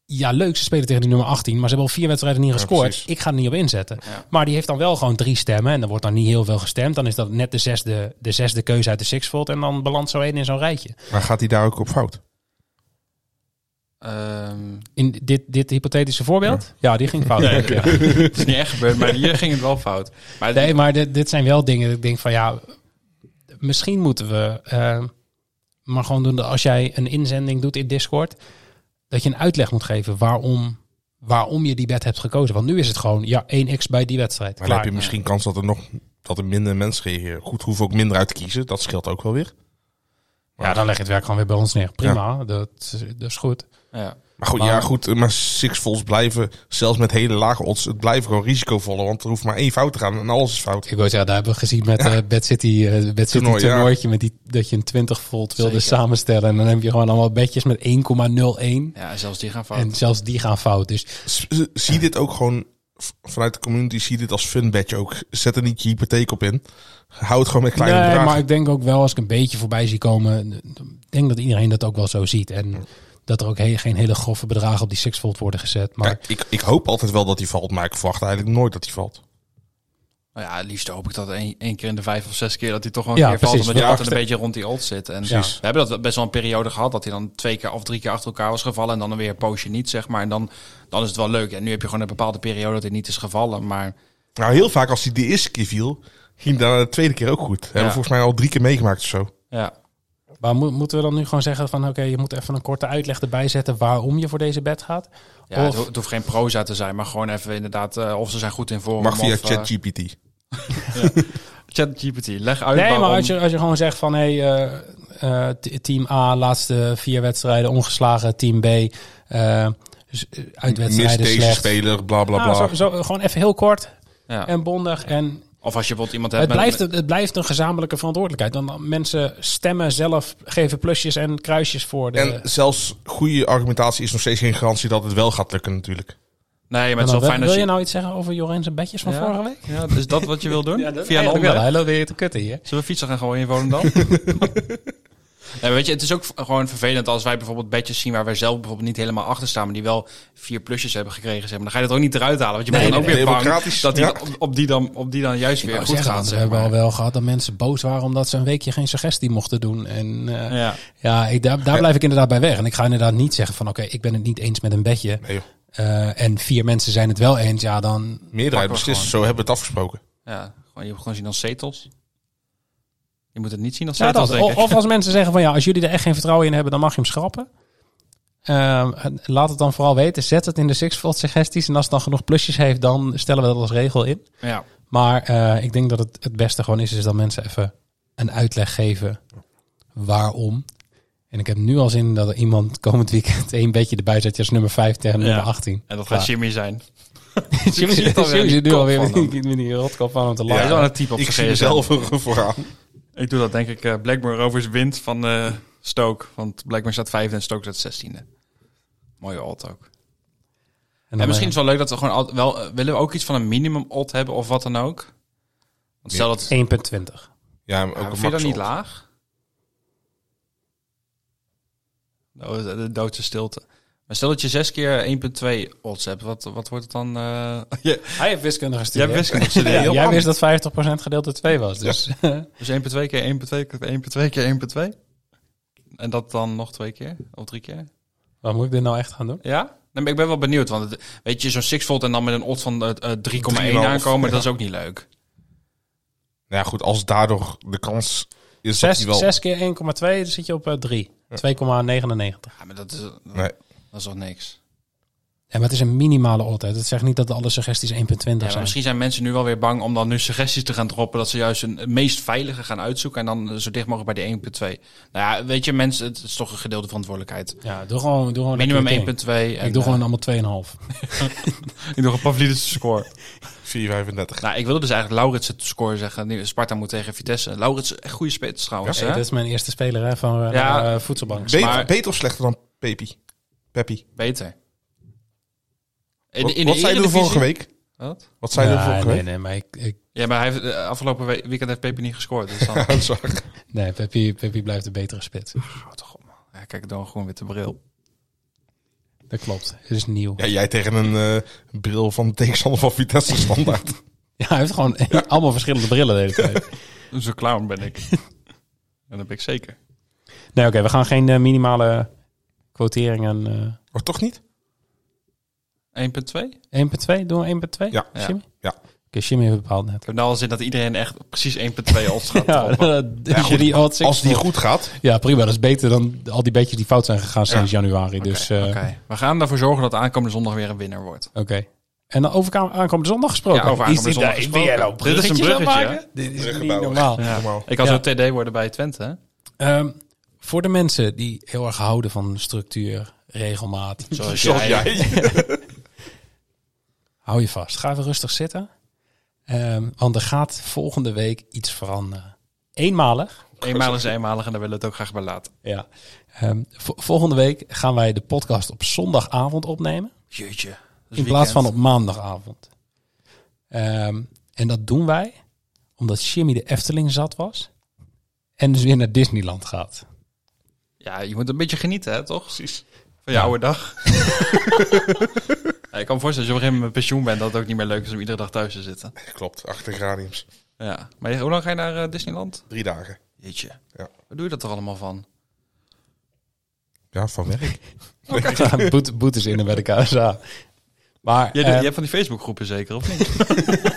S1: ja, leuk, ze spelen tegen de nummer 18, maar ze hebben al vier wedstrijden niet gescoord.
S8: precies.
S1: ik ga er niet op inzetten.
S6: Ja.
S1: Maar die heeft dan wel gewoon drie stemmen. En er wordt dan niet heel veel gestemd. Dan is dat net de zesde, de zesde keuze uit de sixfold. En dan belandt zo één in zo'n rijtje.
S8: Maar gaat hij daar ook op fout?
S6: Ehm,
S1: In dit, dit hypothetische voorbeeld? Ja, die ging fout.
S6: Nee,
S1: Ja.
S6: het is niet echt gebeurd, maar hier ging het wel fout. Maar
S1: Nee, maar dit, dit zijn wel dingen dat ik denk van ja, misschien moeten we eh, Maar gewoon doen dat als jij een inzending doet in Discord, dat je een uitleg moet geven waarom, waarom je die wet hebt gekozen. Want nu is het gewoon, ja, 1x bij die wedstrijd.
S8: Maar dan
S1: Klaar.
S8: heb je misschien kans dat er nog dat er minder mensen reageren. Goed, hoeven ook minder uit te kiezen. Dat scheelt ook wel weer.
S1: Ja, dan leg je het werk gewoon weer bij ons neer. Prima, dat, is- dat is goed.
S6: Ja.
S8: Maar goed,
S1: Maar-
S8: ja, goed. eh, Maar six volts blijven, zelfs met hele lage odds, het blijven gewoon risicovoller. Want er hoeft maar één fout te gaan en alles is fout.
S1: Ik wil zeggen, daar hebben we gezien met eh Bad City, eh Bad City
S8: Toernooi, ja.
S1: toernooitje, met die, dat je een 20 volt wilde samenstellen. En dan heb je gewoon allemaal bedjes met 1,01.
S6: ja, zelfs die gaan fout.
S1: En zelfs die gaan fout. Dus
S8: S- s- Zie dit ook gewoon v- vanuit de community, zie dit als fun badge ook. Zet er niet je hypotheek op in. Hou het gewoon met kleine
S1: nee,
S8: bedragen.
S1: maar ik denk ook wel als ik een beetje voorbij zie komen, ik denk dat iedereen dat ook wel zo ziet. En dat er ook he- geen hele grove bedragen op die sixfold worden gezet. Maar
S8: Kijk, ik, ik hoop altijd wel dat hij valt, maar ik verwacht eigenlijk nooit dat hij valt.
S6: Nou ja, het liefst hoop ik dat één, één keer in de vijf of zes keer dat hij toch wel een
S1: Ja,
S6: keer
S1: precies.
S6: valt. Omdat je
S1: Ja,
S6: altijd een
S1: achter-
S6: beetje rond die old zit. En
S1: Precies.
S6: we hebben dat best wel een periode gehad dat hij dan twee keer of drie keer achter elkaar was gevallen. En dan weer een poosje niet, zeg maar. En dan, dan is het wel leuk. En nu heb je gewoon een bepaalde periode dat hij niet is gevallen. Maar
S8: Nou, heel vaak als hij de eerste keer viel, ging dat de tweede keer ook goed. Hebben we volgens mij al drie keer meegemaakt of zo.
S6: ja,
S1: Maar mo- moeten we dan nu gewoon zeggen van oké, je moet even een korte uitleg erbij zetten waarom je voor deze bed gaat?
S6: ja het,
S1: Of-
S6: ho- het hoeft geen proza te zijn. Maar gewoon even inderdaad, eh, of ze zijn goed in vorm.
S8: Maar via
S6: of, eh,
S8: ChatGPT.
S6: ChatGPT, leg uit
S1: nee, maar
S6: waarom-
S1: als je, als je gewoon zegt van hé, hey, eh, eh, t- team A, laatste vier wedstrijden ongeslagen, team B, eh, z- eh,
S8: Mis
S1: uitwedstrijden
S8: deze
S1: slecht.
S8: speler, bla bla bla.
S1: Nou, zo, zo, gewoon even heel kort
S6: Ja.
S1: en bondig en
S6: Of als je bijvoorbeeld iemand hebt
S1: Het
S6: met-
S1: blijft, het blijft een gezamenlijke verantwoordelijkheid. Dan- Dan mensen stemmen zelf, geven plusjes en kruisjes voor. De, Nou,
S8: En zelfs goede argumentatie is nog steeds geen garantie dat het wel gaat lukken natuurlijk.
S6: Nee, maar
S1: Maar
S6: het is
S1: dan,
S6: wel
S1: wil,
S6: fijn als
S1: wil je
S6: je...
S1: nou iets zeggen over Jorens en bedjes van
S6: Ja.
S1: vorige week?
S6: Ja, is dat wat je wil doen? via een
S1: Eigenlijk
S6: onderwerp?
S1: wel, hij loopt weer te kutten hier.
S6: Zullen we fietsen gaan gooien in Volendam? Nee, weet je, het is ook v- gewoon vervelend als wij bijvoorbeeld bedjes zien waar wij zelf bijvoorbeeld niet helemaal achter staan, maar die wel vier plusjes hebben gekregen. Zeg maar. Dan ga je dat ook niet eruit halen, want je bent
S1: Nee,
S6: dan ook
S8: nee,
S6: weer bang
S8: democratisch,
S6: dat die
S8: ja.
S6: op, op die dan, op die dan juist weer goed
S1: zeggen,
S6: gaan.
S1: want Nou, we
S6: zeg
S1: hebben al
S6: maar.
S1: wel gehad dat mensen boos waren omdat ze een weekje geen suggestie mochten doen. En eh, ja,
S6: Ja.
S1: ik, daar, daar blijf ik inderdaad bij weg. En ik ga inderdaad niet zeggen van oké, ik ben het niet eens met een bedje.
S8: Nee, joh.
S1: Eh, en vier mensen zijn het wel eens, ja dan...
S8: Meerderheid
S6: Pakken we
S8: beslist, zo hebben we het afgesproken.
S6: ja, gewoon, je moet gewoon zien als zetels. Je moet het niet zien als
S1: Ja,
S6: zetels,
S1: dat.
S6: denk
S1: Of,
S6: ik.
S1: of als mensen zeggen van ja, als jullie er echt geen vertrouwen in hebben, dan mag je hem schrappen. Ehm, en laat het dan vooral weten. Zet het in de Sixfold suggesties. En als het dan genoeg plusjes heeft, dan stellen we dat als regel in.
S6: Ja.
S1: Maar eh, ik denk dat het het beste gewoon is, is dat mensen even een uitleg geven waarom. En ik heb nu al zin dat er iemand komend weekend één beetje erbij zet. als nummer 5 tegen nummer
S6: Ja.
S1: 18.
S6: En dat gaat Jimmy zijn.
S1: Jimmy
S6: zit alweer
S1: Jimmy
S6: in
S1: zit
S6: die
S1: nu
S6: kop
S1: alweer
S6: van
S1: met die, met die rotkop aan om te
S6: Hij
S1: lachen.
S6: is wel een type op
S8: ik zie
S6: zijn
S8: mezelf er vooraan.
S6: Ik doe dat denk ik. eh, Blackburn Rovers wint van eh, Stoke. Want Blackburn staat vijfde en Stoke staat zestiende. Mooie alt ook.
S1: En
S6: En
S1: dan,
S6: misschien
S1: eh,
S6: is het wel leuk dat we gewoon al, wel eh, willen we ook iets van een minimum odd hebben of wat dan ook. Want stel dat
S1: 1,20.
S8: Ja, maar
S6: ja,
S8: ook een
S6: vind je dat niet
S8: maxot.
S6: laag? Nou, De de doodse stilte. Maar stel dat je zes keer 1.2 odds hebt, wat, wat wordt het dan? eh je,
S1: Hij heeft wiskunde
S6: jij
S1: gestudeerd.
S6: hebt wiskunde gestudeerd.
S1: Ja, jij wist dat 50% gedeeld door 2 was. Dus
S6: Dus 1.2 keer 1.2 keer 1.2 keer 1.2. En dat dan nog twee keer of drie keer?
S1: wat moet ik dit nou echt gaan doen?
S6: Ja? Nee, maar ik ben wel benieuwd, want het, weet je, zo'n 6 volt en dan met een odd van eh, eh, 3,1
S8: 3,5,
S6: aankomen,
S8: ja.
S6: dat is ook niet leuk.
S8: Nou ja, goed, als daardoor de kans is dat
S1: Zes,
S8: hij wel...
S1: zes keer 1,2, dan zit je op eh, 3. 2,99.
S6: Ja, maar dat is, eh,
S8: Nee.
S6: dat is toch niks.
S1: Ja, maar het is een minimale oddheid. Het zegt niet dat alle suggesties 1,20
S6: Ja, maar
S1: zijn.
S6: misschien zijn mensen nu wel weer bang om dan nu suggesties te gaan droppen. Dat ze juist hun meest veilige gaan uitzoeken. En dan eh, zo dicht mogelijk bij de 1.2. Nou ja, weet je, mensen, het is toch een gedeelde verantwoordelijkheid.
S1: Ja, doe gewoon, doe gewoon
S6: Minimum 1.2.
S1: lekker je ding. Ik
S6: eh,
S1: doe gewoon allemaal 2,5.
S6: ik doe een Pavlidis score.
S8: 4,35.
S6: nou, ik wilde dus eigenlijk Laurits het score zeggen. Nu, Sparta moet tegen Vitesse. Laurits, echt goede spits trouwens.
S1: Hey,
S6: hè?
S1: dit is mijn eerste speler hè, van eh,
S6: Ja.
S1: naar, eh, voedselbank.
S8: Beter,
S6: maar-
S8: beter of slechter dan Peppy? Peppy.
S6: Beter.
S8: Wat, wat zei je
S6: de
S8: vorige week?
S6: Wat?
S8: Wat zei je
S1: Ja,
S8: vorige
S1: nee,
S8: week?
S1: nee, maar ik, ik,
S6: Ja, maar hij heeft, eh, afgelopen we- weekend heeft Pepe niet gescoord. Dus dan...
S8: Oh, sorry.
S1: nee Peppi, Peppi blijft de betere spits.
S6: ja, kijk, dan gewoon witte bril.
S1: Dat klopt. Het is nieuw. Ja,
S8: Ja, jij tegen een eh, bril van de tegenstander van Vitesse standaard.
S1: hij heeft gewoon allemaal verschillende brillen de hele tijd.
S6: Zo'n clown ben ik. en dat ben ik zeker.
S1: Nee, oké, we gaan geen eh, minimale quoteringen... eh,
S8: Maar toch niet?
S6: 1.2?
S1: 1 per 2? Doen we 1 per 2?
S8: Ja.
S1: Jimmy?
S8: Ja.
S1: Jimmy heeft bepaald net.
S6: Ik heb nou al zin dat iedereen echt precies 1.2 odds gaat droppen.
S1: Ja,
S8: goed,
S1: die odds-
S8: Als die goed gaat,
S1: Ja, prima. Dat is beter dan al die beetjes die fout zijn gegaan sinds januari. Dus eh,
S6: Oké,
S1: oké.
S6: oké. we gaan ervoor zorgen dat aankomende zondag weer een winnaar wordt.
S1: En dan over elkaar- aankomende zondag gesproken.
S6: Ja, over
S1: Is
S6: aankomende
S1: dit-
S6: zondag
S1: ja,
S6: gesproken.
S1: ben jij nou
S6: Dit is een
S1: bruggetjes aan het
S6: bruggetje,
S1: maken? Dit is
S8: Bruggen
S1: niet
S8: bouwen.
S1: normaal.
S6: Ja. Ik kan
S1: Ja.
S6: zo TD worden bij Twente. hè?
S1: Ehm, voor de mensen die heel erg houden van structuur, regelmaat, zoals jij, hou je vast. Ga even rustig zitten. Ehm, want er gaat volgende week iets veranderen. Eenmalig.
S6: Eenmalig is eenmalig en daar willen we het ook graag bij laten.
S1: Ja. Ehm, vo- volgende week gaan wij de podcast op zondagavond opnemen.
S6: Jeetje. dat is
S1: in plaats
S6: weekend.
S1: van op maandagavond. Ehm, en dat doen wij omdat Jimmy de Efteling zat was. En dus weer naar Disneyland gaat.
S6: Ja, je moet een beetje genieten, hè, toch? Precies. Van je oude dag. Ja, ik kan me voorstellen, als je op een gegeven moment met pensioen bent, dat het ook niet meer leuk is om iedere dag thuis te zitten.
S8: klopt, achter gradiums.
S6: Ja. Maar je- hoe lang ga je naar eh, Disneyland?
S8: Drie dagen.
S6: Jeetje.
S8: Ja.
S6: Waar doe je dat er allemaal van?
S8: Ja, van werk.
S1: Boete, boetes in en bij de KSA. Maar
S6: Je,
S1: eh,
S6: je hebt van die Facebookgroepen zeker, of niet?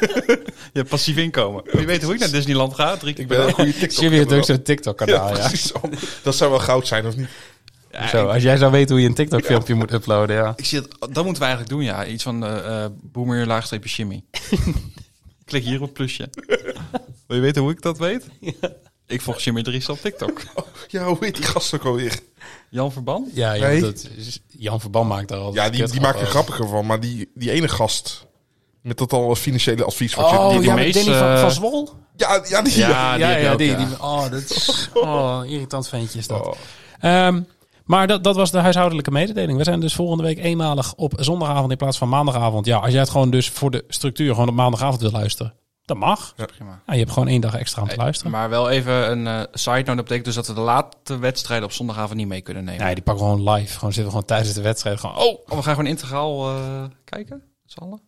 S6: je hebt passief inkomen. Wie weet hoe ik naar Disneyland ga? Drie keer
S8: Ik
S6: per
S8: ben
S6: dag.
S8: een goede TikTok.
S1: Jimmy heeft ook zo'n TikTok-kanaal.
S8: ja,
S1: Ja,
S8: precies. Oh, Dat zou wel goud zijn, of niet?
S6: Ja,
S1: Zo, als jij zou weten hoe je een TikTok-filmpje moet uploaden, ja.
S6: Ik zie dat, dat moeten we eigenlijk doen, ja. Iets van eh eh boomer laagstreepje shimmy. Klik hier op plusje. Wil je weten hoe ik dat weet? Ik volg Jimmy Dries op TikTok.
S8: Ja, hoe heet die gast ook alweer?
S6: Jan Verban?
S1: Ja, je
S8: Nee.
S1: moet dat, Jan Verban maakt daar al.
S8: Ja, die, die maakt er grappiger van. Maar die, die ene gast met dat al financiële advies. Wat je,
S1: Oh,
S8: die-
S1: ja,
S6: meest,
S1: met Danny van,
S6: eh,
S1: van Zwol?
S8: ja, ja, die.
S6: Ja, die heb je ook, ja.
S1: oh, dat is... Oh, irritant ventje is dat.
S8: Oh.
S1: Ehm, maar dat, dat was de huishoudelijke mededeling. We zijn dus volgende week eenmalig op zondagavond in plaats van maandagavond. Ja, als jij het gewoon dus voor de structuur gewoon op maandagavond wil luisteren, dat mag.
S6: Prima.
S1: Ja, je hebt gewoon één dag extra aan te luisteren.
S6: Maar wel even een eh, side note. Dat betekent dus dat we de late wedstrijden op zondagavond niet mee kunnen nemen.
S1: Nee, die pakken we gewoon live. Gewoon zitten we gewoon tijdens de wedstrijd. Gewoon, oh,
S6: Oh, we gaan gewoon integraal eh, kijken? Zallen?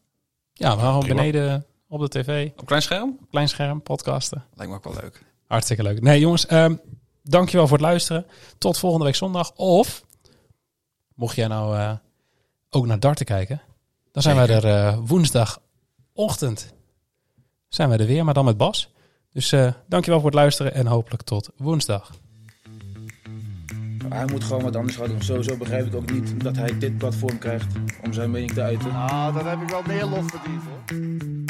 S1: ja, we gaan gewoon
S8: Prima.
S1: beneden op de tv.
S6: Op klein scherm?
S1: Klein scherm, podcasten.
S6: Lijkt me ook wel leuk.
S1: Hartstikke leuk. Nee, jongens, ehm dankjewel voor het luisteren. Tot volgende week zondag. Of, mocht jij nou eh, ook naar darten kijken, dan zijn wij er eh, woensdagochtend. Zijn wij er weer, maar dan met Bas. Dus eh dankjewel voor het luisteren en hopelijk tot woensdag.
S5: Hij moet gewoon wat anders gaan doen. Sowieso begrijp ik ook niet dat hij dit platform krijgt om zijn mening te uiten.
S7: Ah, dat heb ik wel meer lof verdiend hoor.